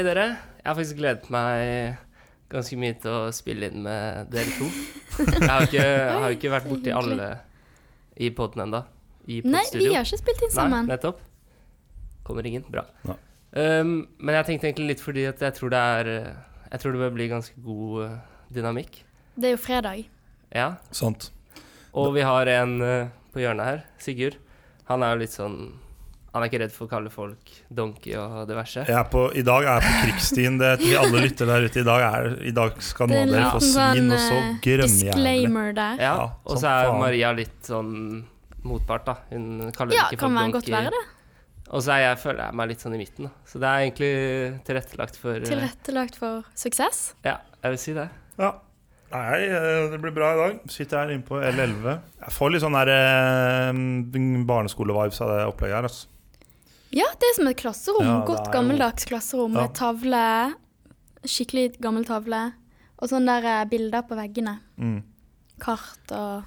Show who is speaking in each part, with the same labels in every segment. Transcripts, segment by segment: Speaker 1: Jeg har faktisk gledet meg ganske mye til å spille inn med dere to. Jeg har ikke, jeg har ikke vært borti alle i poden ennå. I
Speaker 2: Nei, vi
Speaker 1: podstudio.
Speaker 2: har ikke spilt inn sammen.
Speaker 1: Nei, nettopp. Kommer ingen. Bra.
Speaker 3: Nei.
Speaker 1: Um, men jeg tenkte egentlig litt fordi at jeg tror det er Jeg tror det bør bli ganske god eh, dynamikk.
Speaker 2: Det er jo fredag.
Speaker 1: Ja.
Speaker 3: Sant.
Speaker 1: Og vi har en eh, på hjørnet her, Sigurd. Han er jo litt sånn Han er ikke redd for å kalle folk donkey og diverse.
Speaker 3: Jeg er på, I dag er jeg på krigsstien. Det til alle lytter der ute. I dag, er, i dag skal
Speaker 2: Det er
Speaker 3: noen
Speaker 2: en
Speaker 3: av dere få
Speaker 2: liten
Speaker 3: svin,
Speaker 2: sånn
Speaker 3: og så
Speaker 2: eh,
Speaker 3: grønnjævlig.
Speaker 2: disclaimer der.
Speaker 1: Ja,
Speaker 3: Ja,
Speaker 1: og
Speaker 3: som
Speaker 1: så er
Speaker 3: faen.
Speaker 1: Maria litt sånn motpart, da. Hun kaller
Speaker 2: Ja,
Speaker 1: ikke
Speaker 2: kan
Speaker 1: folk
Speaker 2: være godt
Speaker 1: donkey.
Speaker 2: være det.
Speaker 1: Og så er jeg, føler jeg meg litt sånn i midten, da. Så det er egentlig tilrettelagt for eh,
Speaker 2: Tilrettelagt for suksess.
Speaker 1: Ja, jeg vil si det.
Speaker 3: Ja. Nei, eh, det blir bra i dag. Sitter her inne på L11. Jeg får litt sånn der, eh, barneskole-vibes av det opplegget her. Altså.
Speaker 2: Ja, det er som et klasserom.
Speaker 3: Ja, det
Speaker 2: godt
Speaker 3: er jo-
Speaker 2: gammeldags klasserom
Speaker 3: Ja.
Speaker 2: med tavle. Skikkelig gammel tavle. Og sånne der eh, bilder på veggene.
Speaker 3: Mm.
Speaker 2: Kart og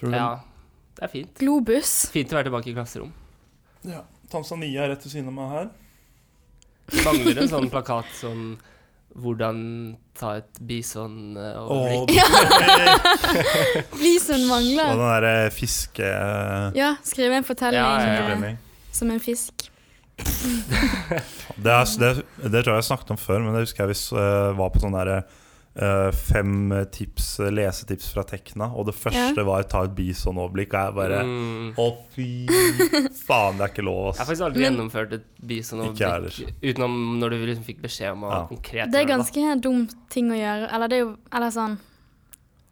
Speaker 3: Tror du
Speaker 1: Ja,
Speaker 3: den-
Speaker 1: det er fint.
Speaker 2: globus.
Speaker 1: Fint å være tilbake i klasserom.
Speaker 3: ja. Tanzania er rett ved siden av meg her.
Speaker 1: Mangler en sånn plakat som 'Hvordan ta et bison eh,
Speaker 3: Og,
Speaker 1: og
Speaker 3: og
Speaker 2: Lisen
Speaker 3: den eh,
Speaker 2: mangler.
Speaker 3: derre fiskebrenning.
Speaker 2: Ja, skrive en fortelling
Speaker 1: Ja, ja, ja.
Speaker 2: eh, som en fisk.
Speaker 3: Det, er, det, det tror jeg jeg snakket om før, men det husker jeg vi s- eh, var på sånn derre eh, fem tips, eh, lesetips fra Tekna, og det første var ta et bisonoverblikk. Og jeg bare
Speaker 1: Mm.
Speaker 3: Å, fy faen, det er ikke lov,
Speaker 1: Jeg har
Speaker 3: ass.
Speaker 1: faktisk aldri
Speaker 2: Men-
Speaker 1: gjennomført et bison
Speaker 3: Ikke jeg heller.
Speaker 1: utenom når du liksom fikk beskjed om å
Speaker 3: Ja.
Speaker 1: konkret
Speaker 2: Det er
Speaker 1: gjøre da.
Speaker 2: ganske dum ting å gjøre. Eller det er jo Eller sånn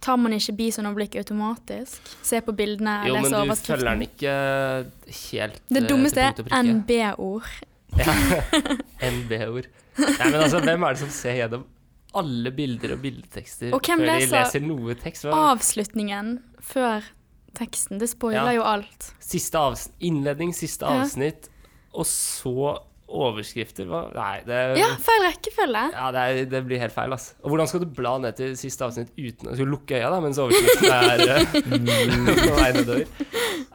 Speaker 2: Tar man ikke bisonoverblikk automatisk? Se på bildene,
Speaker 1: Jo, men
Speaker 2: lese
Speaker 1: du følger den
Speaker 2: overskriften.
Speaker 1: ikke helt
Speaker 2: Det
Speaker 1: eh,
Speaker 2: dummeste
Speaker 1: til punkt og prikke.
Speaker 2: er NB-ord.
Speaker 1: NB-ord. Nei, men altså, hvem er det som ser gjennom alle bilder og bildetekster
Speaker 2: Og hvem
Speaker 1: før de
Speaker 2: leser Ah.
Speaker 1: leser noe tekst? Hva-
Speaker 2: Avslutningen før teksten. Det spoiler
Speaker 1: Ja.
Speaker 2: jo alt.
Speaker 1: Siste avsnitt, innledning, siste
Speaker 2: Ja.
Speaker 1: avsnitt, og så overskrifter? Hva? Nei, det,
Speaker 2: Ja, feil rekkefølge.
Speaker 1: ja, det, er, det blir helt feil, ass. Og hvordan skal du bla ned til siste avsnitt uten å skal lukke øya da, mens overskriften er eh, på vei nedover?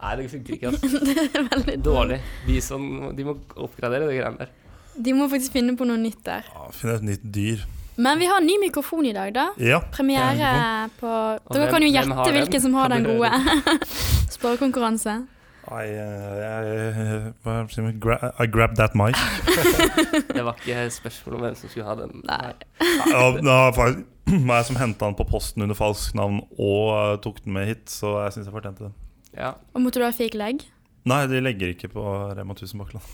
Speaker 1: Nei, det funker ikke, ass. Dårlig. Vi som, de må oppgradere det greiene der.
Speaker 2: De må faktisk finne på noe nytt der.
Speaker 3: Ja, Finn et nytt dyr.
Speaker 2: Men vi har ny mikrofon i dag, da.
Speaker 3: Ja.
Speaker 2: Premiere på
Speaker 1: Og
Speaker 2: Dere
Speaker 1: hvem-
Speaker 2: kan jo
Speaker 1: hvem har
Speaker 2: gjette
Speaker 1: den?
Speaker 2: hvilken som har
Speaker 1: Kan
Speaker 2: den
Speaker 1: du
Speaker 2: gode.
Speaker 1: høre
Speaker 2: Spørrekonkurranse.
Speaker 3: I, uh, hva er det som heter? Gra I grabbed that mic.
Speaker 1: Det var ikke spørsmål om hvem som skulle ha den.
Speaker 2: Nei.
Speaker 3: Ja, det var faktisk meg som henta den på posten under falskt navn og eh, tok den med hit, så jeg syns jeg fortjente den.
Speaker 1: Ja.
Speaker 2: Og måtte du ha fake leg?
Speaker 3: Nei, de legger ikke på Rema 1000 Bakkland.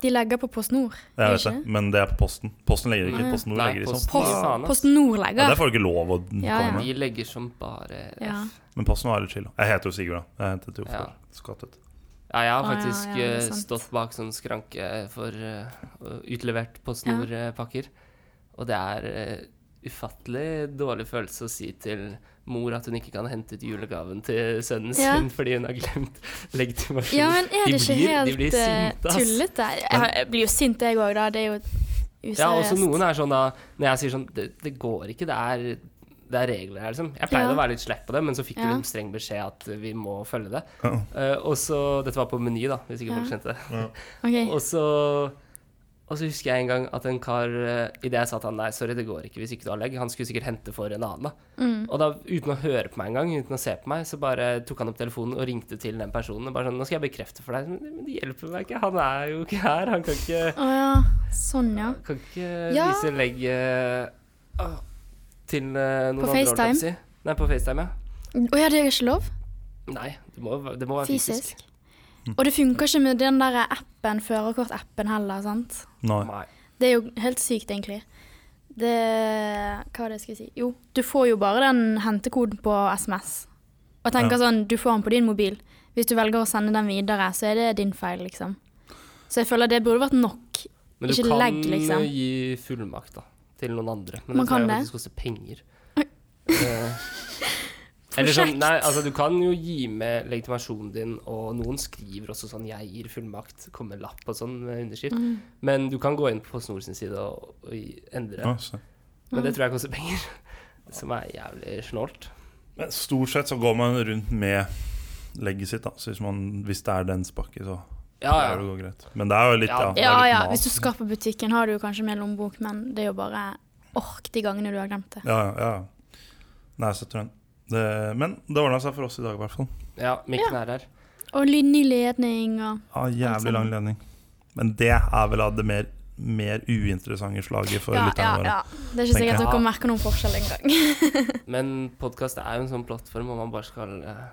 Speaker 2: De legger på Post Nord.
Speaker 3: Jeg vet
Speaker 2: Ikke?
Speaker 3: det, men det er på Posten. Posten legger
Speaker 2: Ah,
Speaker 3: ikke.
Speaker 2: ja.
Speaker 3: Posten
Speaker 1: Nei,
Speaker 3: legger i sånn.
Speaker 1: Posten.
Speaker 2: Post,
Speaker 1: Ja, faen, ass.
Speaker 2: post Nord
Speaker 3: Ja,
Speaker 2: legger.
Speaker 3: det får du ikke lov å
Speaker 2: Ja, ja.
Speaker 3: komme med.
Speaker 1: De legger som bare
Speaker 2: Ja.
Speaker 3: Men Posten var litt chill. da. Jeg heter jo Sigurd, da. Jeg hentet jo for
Speaker 1: Ja.
Speaker 3: skattet.
Speaker 1: Ja, jeg har
Speaker 2: Å, ja,
Speaker 1: faktisk
Speaker 2: ja, det er
Speaker 1: eh,
Speaker 2: sant.
Speaker 1: stått bak sånn skranke for eh, utlevert PostNord-pakker. Og det er eh, ufattelig dårlig følelse å si til mor at hun ikke kan hente ut julegaven til sønnen
Speaker 2: Ja.
Speaker 1: sin fordi hun har glemt legitimasjon.
Speaker 2: ja, men er
Speaker 1: De
Speaker 2: det ikke
Speaker 1: blir- de
Speaker 2: helt
Speaker 1: blir
Speaker 2: eh,
Speaker 1: sinte, ass.
Speaker 2: tullete? Jeg har- jeg blir jo sint, jeg òg, da. Det er jo useriøst.
Speaker 1: Ja, også noen er sånn da Når jeg sier sånn Det, det går ikke, det er, det er regler her, liksom. Jeg pleide
Speaker 2: Ja.
Speaker 1: å være litt slapp på det, men så fikk
Speaker 2: Ja.
Speaker 1: hun streng beskjed at eh, vi må følge det.
Speaker 3: Ja.
Speaker 1: Eh, og så Dette var på Meny, da, hvis ikke
Speaker 2: Ja.
Speaker 1: folk skjønte det.
Speaker 2: Ok.
Speaker 1: Og så, og så husker jeg en gang at en kar eh, I det jeg sa til han Nei, sorry, det går ikke hvis ikke du har legg. Han skulle sikkert hente for en annen. da.
Speaker 2: Mm.
Speaker 1: Og da, uten å høre på meg engang, uten å se på meg, så bare tok han opp telefonen og ringte til den personen. og Bare sånn Nå skal jeg bekrefte for deg. Men men det hjelper meg ikke. Han er jo ikke her. Han kan ikke,
Speaker 2: Å ja. Sånn, ja.
Speaker 1: kan ikke
Speaker 2: Ja.
Speaker 1: vise legg eh, ah, til eh, noen
Speaker 2: På
Speaker 1: andre. holdt jeg på å
Speaker 2: FaceTime?
Speaker 1: si. Nei, på FaceTime, ja.
Speaker 2: Å ja, det er ikke lov?
Speaker 1: Nei, det må, det må være fysisk.
Speaker 2: Fysisk. Og det funker ikke med den der appen, førerkortappen heller, sant?
Speaker 3: Nei.
Speaker 1: Nei.
Speaker 2: Det er jo helt sykt, egentlig. Det Hva var det jeg skulle si? Jo, du får jo bare den hentekoden på SMS. Og tenker sånn, du får den på din mobil. Hvis du velger å sende den videre, så er det din feil, liksom. Så jeg føler det burde vært nok.
Speaker 1: Men du
Speaker 2: Ikke
Speaker 1: kan
Speaker 2: legg, liksom.
Speaker 1: eh, gi fullmakt da, til noen andre. Men det
Speaker 2: Man
Speaker 1: tror jeg
Speaker 2: kan det.
Speaker 1: faktisk koster penger. Eh, Eller sånn,
Speaker 2: Prosjekt.
Speaker 1: nei, altså Du kan jo gi med legitimasjonen din, og noen skriver også sånn 'Jeg gir fullmakt', kommer lapp og sånn med underskrift.
Speaker 2: Mm.
Speaker 1: Men du kan gå inn på PostNord sin side og, og gi- endre.
Speaker 3: Ja, så.
Speaker 1: Men
Speaker 2: Mm.
Speaker 1: det tror jeg koster penger. Som er jævlig snålt.
Speaker 3: Men stort sett så går man rundt med legget sitt, da. Så hvis, man, hvis det er dens pakke, så
Speaker 1: Ja,
Speaker 3: Da er
Speaker 1: ja.
Speaker 3: det går greit. Men det er jo litt
Speaker 1: Ja.
Speaker 3: Ja, det er
Speaker 2: Ja
Speaker 3: litt
Speaker 2: ja,
Speaker 3: mas.
Speaker 2: hvis du skal på butikken, har du jo kanskje med lommebok, men det er jo bare ork de gangene du har glemt det.
Speaker 3: Ja, ja, ja. Nei, jeg støtter den. Det, men det ordna seg for oss i dag, i hvert fall.
Speaker 1: ja mikken er her.
Speaker 2: Og lyd- ny ledning og
Speaker 3: Ah, jævlig lang ledning. Men det er vel av det mer, mer uinteressante slaget for
Speaker 2: ja, ja,
Speaker 3: lytterne våre.
Speaker 2: ja. Det er ikke
Speaker 3: Tenker
Speaker 2: sikkert
Speaker 3: jeg.
Speaker 2: dere merker noen forskjell engang.
Speaker 1: Men podkast er jo en sånn plattform hvor man bare skal eh,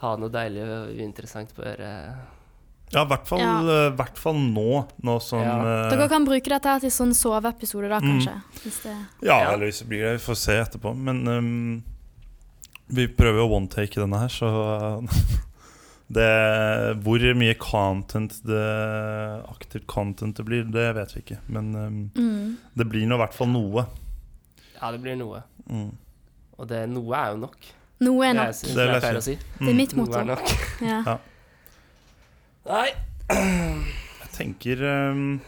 Speaker 1: ha noe deilig og uinteressant på øret.
Speaker 3: Ja, i hvert fall,
Speaker 2: Ja.
Speaker 3: eh, hvert fall nå, nå som
Speaker 1: Ja.
Speaker 3: eh,
Speaker 2: Dere kan bruke dette her til sånn soveepisode, da,
Speaker 3: Mm.
Speaker 2: kanskje. Hvis det
Speaker 3: Ja,
Speaker 1: Ja.
Speaker 3: eller hvis det blir det, vi får se etterpå. Men ehm, vi prøver jo one-take i denne her, så det, Hvor mye content det, aktivt content det blir, det vet vi ikke. Men ehm,
Speaker 2: mm.
Speaker 3: det blir nå i hvert fall noe.
Speaker 1: Ja, det blir noe.
Speaker 3: Mm.
Speaker 1: Og det noe er jo nok.
Speaker 2: Noe er
Speaker 1: Det
Speaker 2: nok.
Speaker 1: er, som
Speaker 3: Det er
Speaker 1: jeg pleier
Speaker 3: lett.
Speaker 1: å si.
Speaker 2: Det er mitt
Speaker 1: Mm. Noe er
Speaker 2: motto.
Speaker 1: nok.
Speaker 2: Ja.
Speaker 1: Nei.
Speaker 3: Jeg tenker ehm,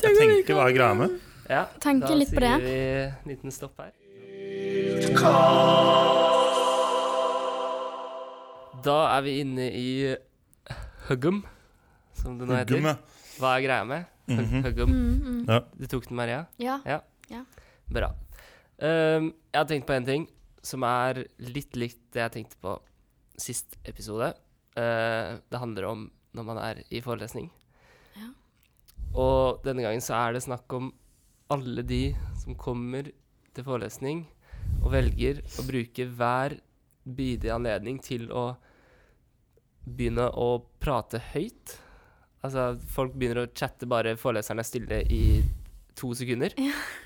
Speaker 3: Jeg tenker hva er greia med
Speaker 1: Ja,
Speaker 2: Tenker litt på det.
Speaker 1: Da sier vi en liten stopp her. Da er vi inne i Huggum, som det nå heter.
Speaker 3: Gummet.
Speaker 1: Hva er greia med? Hug-
Speaker 3: Mhm.
Speaker 1: Huggum.
Speaker 2: Mm, mm.
Speaker 1: Du tok den, Maria?
Speaker 2: ja.
Speaker 1: Bra. Ehm, jeg har tenkt på en ting som er litt likt det jeg tenkte på sist episode. Eh, det handler om når man er i forelesning.
Speaker 2: Ja.
Speaker 1: Og denne gangen så er det snakk om alle de som kommer til forelesning og velger å bruke hver bidige anledning til å begynne å prate høyt. Altså, folk begynner å chatte bare foreleseren er stille i to sekunder.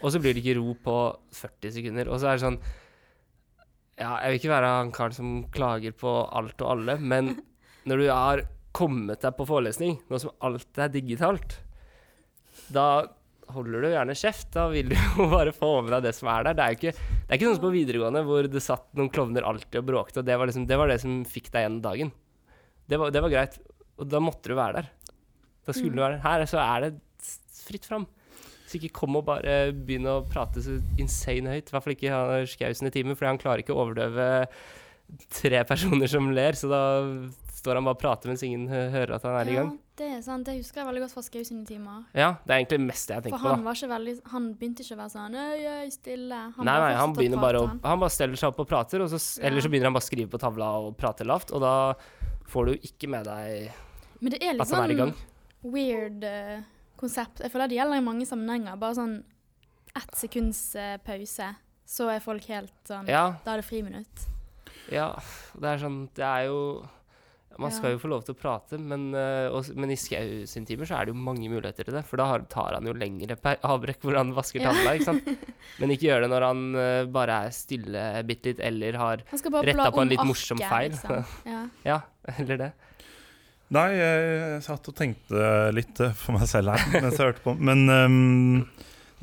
Speaker 1: Og så blir det ikke ro på 40 sekunder. Og så er det sånn Ja, jeg vil ikke være han karen som klager på alt og alle, men når du har kommet deg på forelesning, nå som alt er digitalt, da holder du gjerne kjeft. Da vil du jo bare få med deg det som er der. Det er jo ikke, det er ikke sånn som på videregående, hvor det satt noen klovner alltid og bråkte, og det var, liksom, det, var det som fikk deg gjennom dagen. Det var, det var greit. Og da måtte du være der. Da skulle
Speaker 2: Mm.
Speaker 1: du være der. Her så er det s- fritt fram. Så ikke kom og bare begynn å prate så insane høyt. I hvert fall ikke han Skausen i timen, for han klarer ikke å overdøve tre personer som ler, så da står han bare og prater mens ingen hø- hører at han er i gang.
Speaker 2: Ja, det er sant. Det husker jeg veldig godt fra Skau sine timer.
Speaker 1: Ja, det er egentlig mest det jeg
Speaker 2: For
Speaker 1: tenker
Speaker 2: han
Speaker 1: på, da.
Speaker 2: var ikke veldig Han begynte ikke å være sånn Øy, øy, stille.
Speaker 1: Nei, nei, han
Speaker 2: fortsatte
Speaker 1: begynner bare å
Speaker 2: prate,
Speaker 1: Han bare steller seg opp og prater, og så, s- eller
Speaker 2: Ja.
Speaker 1: så begynner han bare å skrive på tavla og prate lavt, og da får du jo ikke med deg
Speaker 2: han. Men det er litt
Speaker 1: at han er i
Speaker 2: sånn
Speaker 1: gang.
Speaker 2: weird eh, konsept. Jeg føler det gjelder i mange sammenhenger. Bare sånn ett sekunds eh, pause, så er folk helt sånn
Speaker 1: Ja,
Speaker 2: Da er det friminutt.
Speaker 1: ja. Det er sånn Det er jo Man
Speaker 2: Ja.
Speaker 1: skal jo få lov til å prate, men, eh, og, s- men i Skau sin timer så er det jo mange muligheter til det. For da har- tar han jo lengre per- avbrekk hvor han vasker
Speaker 2: Ja.
Speaker 1: tavla, ikke sant. Men ikke gjør det når han eh, bare er stille bitte litt, eller har
Speaker 2: Han skal bare
Speaker 1: Rettet
Speaker 2: bla
Speaker 1: på en
Speaker 2: om
Speaker 1: litt morsom
Speaker 2: arket,
Speaker 1: feil.
Speaker 2: Liksom. Ja.
Speaker 1: Ja, eller det.
Speaker 3: Nei, jeg, jeg satt og tenkte litt eh, for meg selv her mens jeg hørte på. Men ehm,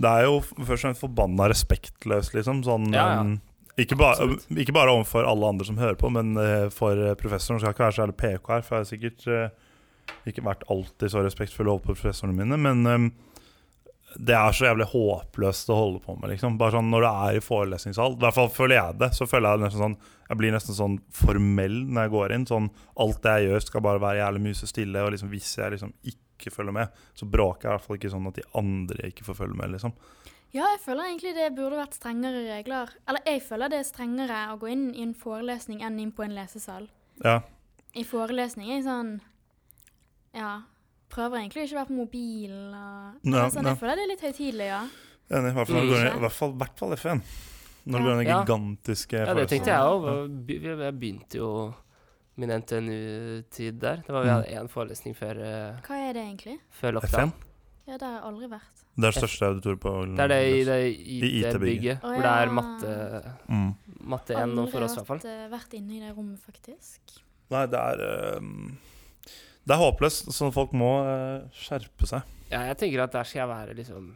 Speaker 3: det er jo f- først og fremst forbanna respektløst, liksom. Sånn,
Speaker 1: Ja, ja.
Speaker 3: ehm, ikke, ba
Speaker 1: Absolutt.
Speaker 3: ikke bare overfor alle andre som hører på, men eh, for eh, professoren skal jeg ikke være så jævlig PK her, for jeg har sikkert eh, ikke vært alltid så respektfull overfor professorene mine. Men ehm, det er så jævlig håpløst å holde på med, liksom. Bare sånn når du er i forelesningssal, i hvert fall føler jeg det, så føler jeg nesten sånn jeg blir nesten sånn formell når jeg går inn. Sånn, alt jeg gjør, skal bare være jævlig musestille. Og liksom, hvis jeg liksom ikke følger med, så bråker jeg i hvert fall ikke sånn at de andre ikke får følge med. liksom.
Speaker 2: Ja, jeg føler egentlig det burde vært strengere regler. Eller jeg føler det er strengere å gå inn i en forelesning enn inn på en lesesal.
Speaker 3: Ja,
Speaker 2: I forelesning er jeg sånn Ja. Prøver egentlig ikke å være på mobilen og
Speaker 3: Nei,
Speaker 2: Eller sånn,
Speaker 3: nei.
Speaker 2: Jeg føler det er litt høytidelig, ja.
Speaker 3: Enig. I hvert fall når du går inn- i hvert fall, hvert fall FN. Når
Speaker 2: Ja.
Speaker 3: du går inn i
Speaker 1: Ja.
Speaker 3: gigantiske
Speaker 1: Ja, det tenkte
Speaker 3: forelesninger.
Speaker 1: jeg òg. Jeg begynte jo min NTNU-tid der. Det var Vi hadde én forelesning før, eh,
Speaker 2: Hva er det egentlig?
Speaker 1: før
Speaker 3: FN?
Speaker 1: lockdown.
Speaker 2: Ja, der har jeg aldri vært.
Speaker 3: Det er det største auditoriet på
Speaker 1: Det er det Mm, i det
Speaker 3: IT-bygget.
Speaker 1: IT-bygget,
Speaker 2: Å,
Speaker 1: hvor det er
Speaker 2: ja.
Speaker 1: matte,
Speaker 3: mm.
Speaker 1: matte 1 nå for oss, i hvert fall.
Speaker 2: Aldri vært, eh, vært inne i det rommet, faktisk.
Speaker 3: Nei, det er ehm, Det er håpløst, så folk må eh, skjerpe seg.
Speaker 1: Ja, jeg tenker at der skal jeg være liksom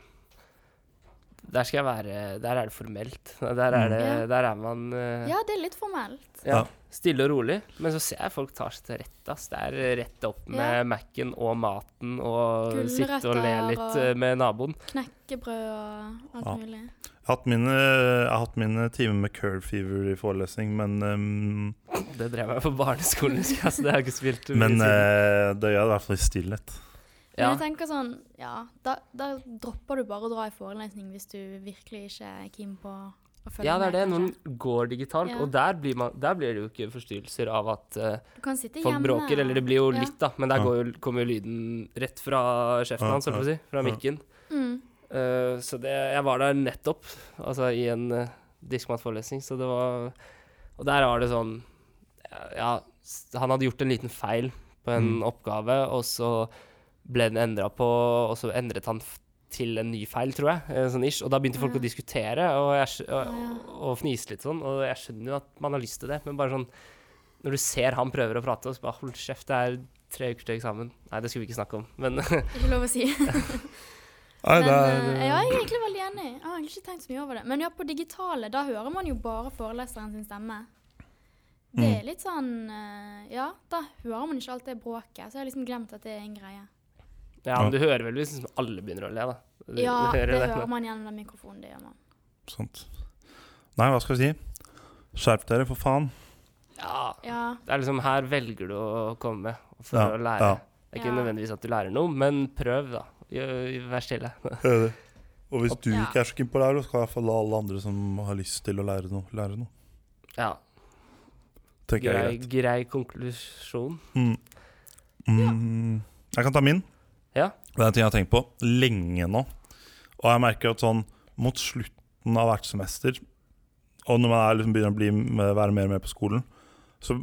Speaker 1: Der skal jeg være Der er det formelt. Der er,
Speaker 2: Ja.
Speaker 1: det, der er man eh,
Speaker 2: Ja, det er litt formelt.
Speaker 1: Mm. ja,
Speaker 3: Ja.
Speaker 1: stille og rolig. Men så ser jeg folk tar seg til rette. ass. Det er rett opp med
Speaker 2: Ja.
Speaker 1: Mac-en og maten og sitte og le
Speaker 2: Gulrøtter
Speaker 1: litt
Speaker 2: og-
Speaker 1: eh, med naboen.
Speaker 2: Knekkebrød og alt
Speaker 3: Ja.
Speaker 2: mulig.
Speaker 3: Jeg har hatt mine, jeg har hatt mine timer med curve fever i forelesning, men ehm,
Speaker 1: Det drev jeg på barneskolen, husker jeg, så det har jeg ikke spilt. mye
Speaker 3: Men
Speaker 1: siden.
Speaker 3: eh, det gjør det i hvert fall i stillhet.
Speaker 1: ja.
Speaker 2: Men jeg tenker sånn, ja, da, da dropper du bare å dra i forelesning hvis du virkelig ikke er keen på å følge
Speaker 1: ja, det er det.
Speaker 2: med.
Speaker 1: Noen
Speaker 2: kanskje.
Speaker 1: går digitalt,
Speaker 2: Ja.
Speaker 1: og der blir, man, der blir det jo ikke forstyrrelser av at eh,
Speaker 2: Du kan sitte
Speaker 1: folk
Speaker 2: hjemme.
Speaker 1: bråker. Eller det blir jo
Speaker 2: Ja.
Speaker 1: litt, da, men der
Speaker 3: Ja.
Speaker 1: går jo, kommer jo lyden rett fra kjeften
Speaker 3: Ja,
Speaker 1: hans, holdt jeg på å si. Fra
Speaker 3: ja.
Speaker 1: mikken.
Speaker 2: Mm.
Speaker 1: Eh, så det, jeg var der nettopp, altså i en uh, diskmatforelesning, så det var Og der var det sånn Ja, s- han hadde gjort en liten feil på en oppgave, og så ble den endra på, og så endret han f til en ny feil, tror jeg. eh, Sånn ish. Og da begynte folk
Speaker 2: Ja.
Speaker 1: å diskutere og, jeg, skj- og,
Speaker 2: Ja,
Speaker 1: og fnise litt sånn, og jeg skjønner jo at man har lyst til det, men bare sånn Når du ser han prøver å prate, og så bare hold kjeft, det er tre uker til eksamen. Nei, det skulle vi ikke snakke om, men
Speaker 2: Ikke lov å si.
Speaker 3: Nei,
Speaker 2: Men,
Speaker 3: det
Speaker 2: eh,
Speaker 3: er,
Speaker 2: ja, jeg er egentlig veldig enig. Jeg har egentlig ikke tenkt så mye over det. Men ja, på digitale, da hører man jo bare foreleseren sin stemme. Det
Speaker 1: Mm.
Speaker 2: er litt sånn eh, Ja, da hører man ikke alt det bråket. Så jeg har liksom glemt at det er en greie.
Speaker 1: Ja, men du hører vel hvis alle begynner å le, da. Du,
Speaker 2: Ja,
Speaker 1: du
Speaker 2: det
Speaker 1: men-
Speaker 2: hører man gjennom den mikrofonen. Det gjør man.
Speaker 3: sant. Nei, hva skal vi si? Skjerp dere, for faen.
Speaker 1: Ja,
Speaker 2: Ja.
Speaker 1: det er liksom her velger du å komme for
Speaker 3: Ja,
Speaker 1: å lære.
Speaker 3: ja.
Speaker 1: Det er ikke
Speaker 2: Ja.
Speaker 1: nødvendigvis at du lærer noe, men prøv, da. Gjør- Vær stille.
Speaker 3: Og hvis du
Speaker 2: Ja.
Speaker 3: ikke er så keen på å lære, så skal jeg i hvert fall la alle andre som har lyst til å lære noe, lære noe.
Speaker 1: Ja,
Speaker 3: Tenker jeg er
Speaker 1: grei,
Speaker 3: greit.
Speaker 1: grei konklusjon.
Speaker 3: Mm. Mm. Jeg kan ta min.
Speaker 1: Ja.
Speaker 3: Det er en ting jeg har tenkt på lenge nå. Og jeg merker at sånn mot slutten av hvert semester, og når man er, liksom begynner å bli, være mer og mer på skolen, så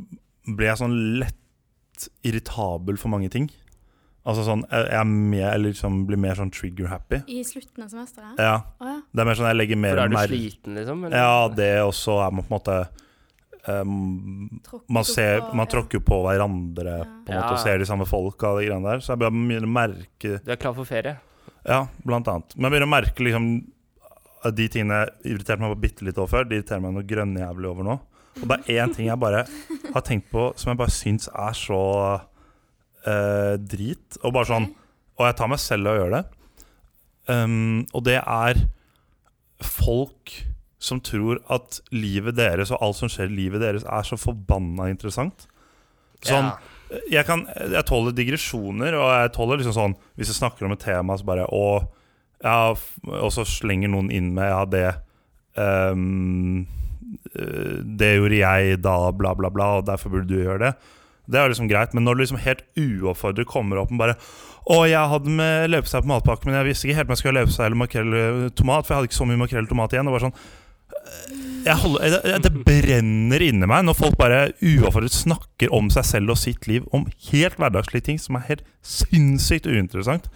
Speaker 3: blir jeg sånn lett irritabel for mange ting. Altså sånn, jeg, jeg er mer, eller liksom blir mer sånn trigger-happy.
Speaker 2: I slutten av semesteret?
Speaker 3: Ja,
Speaker 2: Å ja.
Speaker 3: det er mer sånn jeg legger
Speaker 1: For
Speaker 3: mer
Speaker 1: er du
Speaker 3: mer-
Speaker 1: sliten, liksom? eller?
Speaker 3: Ja, det også er man på en måte um,
Speaker 2: Tråkket
Speaker 3: man, ser,
Speaker 2: opp og-
Speaker 3: man tråkker jo på hverandre på en
Speaker 1: Ja.
Speaker 3: måte, og ser de samme folka og de greiene der. Så jeg begynner å merke
Speaker 1: Du er klar for ferie?
Speaker 3: Ja, blant annet. Men jeg begynner å merke liksom at de tingene jeg irriterte meg på bitte litt over før, de irriterer meg noe grønnjævlig over nå. Og det er én ting jeg bare har tenkt på som jeg bare syns er så eh, drit. Og bare sånn Og jeg tar meg selv i å gjøre det. Um, og det er folk som tror at livet deres og alt som skjer i livet deres, er så forbanna interessant. Sånn,
Speaker 1: Ja.
Speaker 3: jeg, kan, jeg tåler digresjoner, og jeg tåler liksom sånn Hvis jeg snakker om et tema, så bare Å, ja, f- og så slenger noen inn med Ja, det ehm, eh, Det gjorde jeg da, bla, bla, bla, og derfor burde du gjøre det. Det er liksom greit, men når du liksom helt uoppfordret kommer opp og bare å, jeg hadde med leverpostei på matpakke, men jeg visste ikke helt om jeg skulle ha leverpostei eller makrell eh, tomat, for jeg hadde ikke så mye makrell tomat igjen. Og bare sånn eh, jeg holder, det, det brenner inni meg når folk bare uoppfordret snakker om seg selv og sitt liv, om helt hverdagslige ting som er helt sinnssykt uinteressant.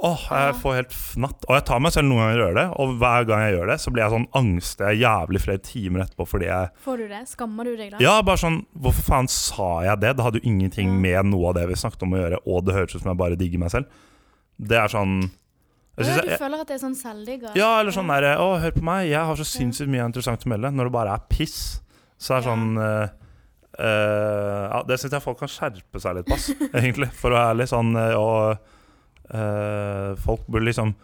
Speaker 3: Åh, jeg får helt fnatt. Og jeg tar meg selv noen ganger i å gjøre det, og hver gang jeg gjør det, så blir jeg sånn angst. Jeg er jævlig flere timer etterpå fordi jeg
Speaker 2: Får du det? Skammer du deg da?
Speaker 3: ja, bare sånn Hvorfor faen sa jeg det? Det hadde jo ingenting med noe av det vi snakket om å gjøre, og det høres ut som jeg bare digger meg selv. Det er sånn jeg synes
Speaker 2: du
Speaker 3: jeg,
Speaker 2: føler at det er sånn selvdigger?
Speaker 3: Ja, eller sånn derre Å, hør på meg, jeg har så sinnssykt mye interessant å melde. Når det bare er piss, så er det
Speaker 2: Ja.
Speaker 3: sånn eh, eh, Ja, det syns jeg folk kan skjerpe seg litt på, ass, egentlig, for å være ærlig. Sånn eh, og eh, Folk burde liksom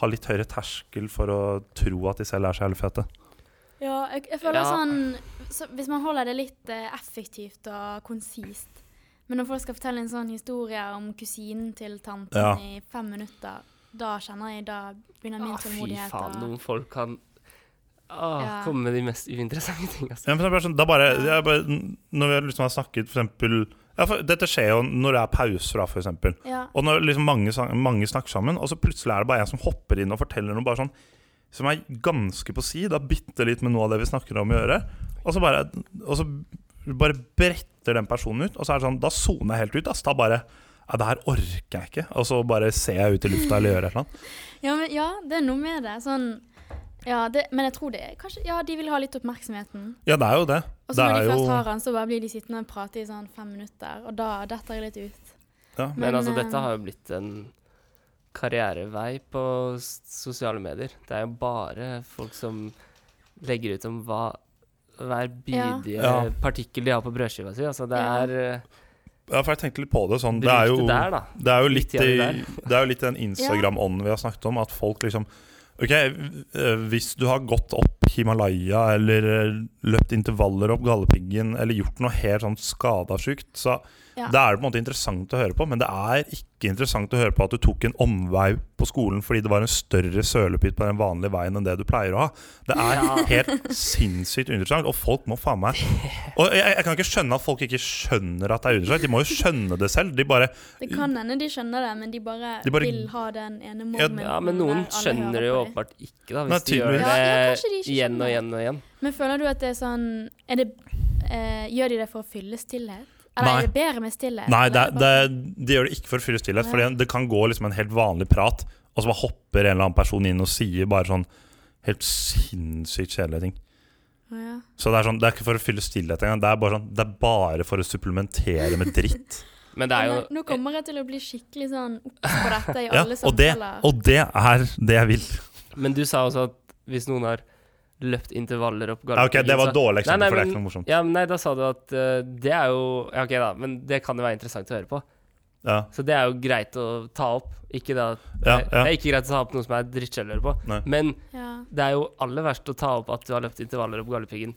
Speaker 3: ha litt høyere terskel for å tro at de selv er så jævlig fete.
Speaker 2: Ja, jeg, jeg føler
Speaker 1: Ja.
Speaker 2: sånn så Hvis man holder det litt eh, effektivt og konsist Men når folk skal fortelle en sånn historie om kusinen til tanten
Speaker 3: Ja.
Speaker 2: i fem minutter, da kjenner jeg Da begynner min
Speaker 1: Ah, fy
Speaker 2: tålmodighet
Speaker 1: faen,
Speaker 2: å
Speaker 1: noen folk kan ah,
Speaker 2: Ja.
Speaker 1: komme med de mest uinteressante tingene. altså.
Speaker 3: Ja, men det er bare sånn, da bare, jeg bare, n- når vi liksom har snakket for eksempel, ja, for Dette skjer jo når det er pauser, da, for eksempel.
Speaker 2: Ja.
Speaker 3: Og når liksom mange, sang- mange snakker sammen, og så plutselig er det bare en som hopper inn og forteller noe bare sånn, som er ganske på si, da bitte litt med noe av det vi snakker om å gjøre. Og så bare, og så bare bretter den personen ut, og så er det sånn, da soner jeg helt ut. Ass, da bare ja, det her orker jeg ikke. Og så bare ser jeg ut i lufta eller gjør et eller annet.
Speaker 2: Ja, men, ja, det er noe med det. Sånn ja, det, men jeg tror det er kanskje, Ja, de vil ha litt oppmerksomheten.
Speaker 3: Ja, det er jo det.
Speaker 2: Og så
Speaker 3: Det
Speaker 2: når
Speaker 3: er
Speaker 2: de
Speaker 3: jo
Speaker 2: først har han, så bare blir de sittende og prate i sånn fem minutter, og da detter jeg litt ut.
Speaker 3: ja.
Speaker 1: Men, altså,
Speaker 2: eh,
Speaker 1: dette har jo blitt en karrierevei på s- sosiale medier. Det er jo bare folk som legger ut om hva hver bidige
Speaker 3: Ja.
Speaker 1: partikkel de har på brødskiva si. Altså, det
Speaker 2: Ja.
Speaker 1: er eh,
Speaker 3: Ja, for jeg tenkte litt på det. Sånn,
Speaker 1: Bruk
Speaker 3: det, er jo,
Speaker 1: det der, da.
Speaker 3: det er jo litt,
Speaker 1: Litt
Speaker 3: i,
Speaker 1: igjen
Speaker 3: det er jo litt i den Instagram-ånden vi har snakket om, at folk liksom Ok, eh, hvis du har gått opp opp Himalaya eller eh, løpt intervaller opp Galdhøpiggen eller gjort noe helt sånn skadasjukt, så
Speaker 2: Ja.
Speaker 3: da er det på en måte interessant å høre på. Men det er ikke interessant å høre på at du tok en omvei på skolen fordi det var en større sølepytt på den vanlige veien enn det du pleier å ha. Det er
Speaker 1: Ja.
Speaker 3: helt sinnssykt uinteressant, og folk må faen meg Og jeg, jeg kan ikke skjønne at folk ikke skjønner at det er uinteressant. De må jo skjønne det selv. De bare
Speaker 2: Det kan hende de skjønner det, men de bare,
Speaker 3: De bare-
Speaker 2: vil ha den ene
Speaker 3: Ja,
Speaker 2: momenten.
Speaker 1: Ja, men noen
Speaker 2: der alle
Speaker 1: skjønner
Speaker 2: hører
Speaker 1: det jo
Speaker 2: på de.
Speaker 1: åpenbart ikke, da,
Speaker 3: Nei,
Speaker 1: hvis de gjør
Speaker 3: tydeligvis.
Speaker 1: det
Speaker 2: Ja, ja, kanskje de ikke
Speaker 1: igjen og
Speaker 2: skjønner.
Speaker 1: igjen og igjen.
Speaker 2: Men føler du at det er sånn er det, eh, Gjør de det for å fylle stillhet? Eller
Speaker 3: Nei.
Speaker 2: er det bedre med stillhet?
Speaker 3: Nei, det,
Speaker 2: Eller
Speaker 3: er- det, er- de gjør det ikke for å fylle stillhet. For det kan gå liksom en helt vanlig prat, og så bare hopper en eller annen person inn og sier bare sånn helt sinnssykt kjedelige ting.
Speaker 2: bare- Å, ja.
Speaker 3: Så det er, sånn, det er ikke for å fylle stillhet engang. Det er bare, sånn, det er bare for å supplementere med dritt.
Speaker 1: Men det er
Speaker 2: Nå- Nå
Speaker 1: jo
Speaker 2: kommer jeg til å bli skikkelig sånn obs på dette i
Speaker 3: Ja,
Speaker 2: alle
Speaker 3: og, det,
Speaker 2: samtaler.
Speaker 3: og det er det jeg vil.
Speaker 1: Men du sa også at hvis noen har løpt intervaller opp
Speaker 3: Ja, ok, Det var et dårlig
Speaker 1: Nei,
Speaker 3: eksempel,
Speaker 1: nei,
Speaker 3: for det er
Speaker 1: men-
Speaker 3: ikke noe morsomt.
Speaker 1: Ja, men nei, da sa du at eh, det er jo Ja, OK, da, men det kan jo være interessant å høre på.
Speaker 3: Ja,
Speaker 1: Så det er jo greit å ta opp. Ikke det at
Speaker 3: ja,
Speaker 1: Nei, Det
Speaker 3: ja.
Speaker 1: er ikke greit å ta opp noe som er drittkjedelig å høre på.
Speaker 3: Nei.
Speaker 1: Men
Speaker 2: ja.
Speaker 1: det er jo aller verst å ta opp at du har løpt intervaller opp Galdhøpiggen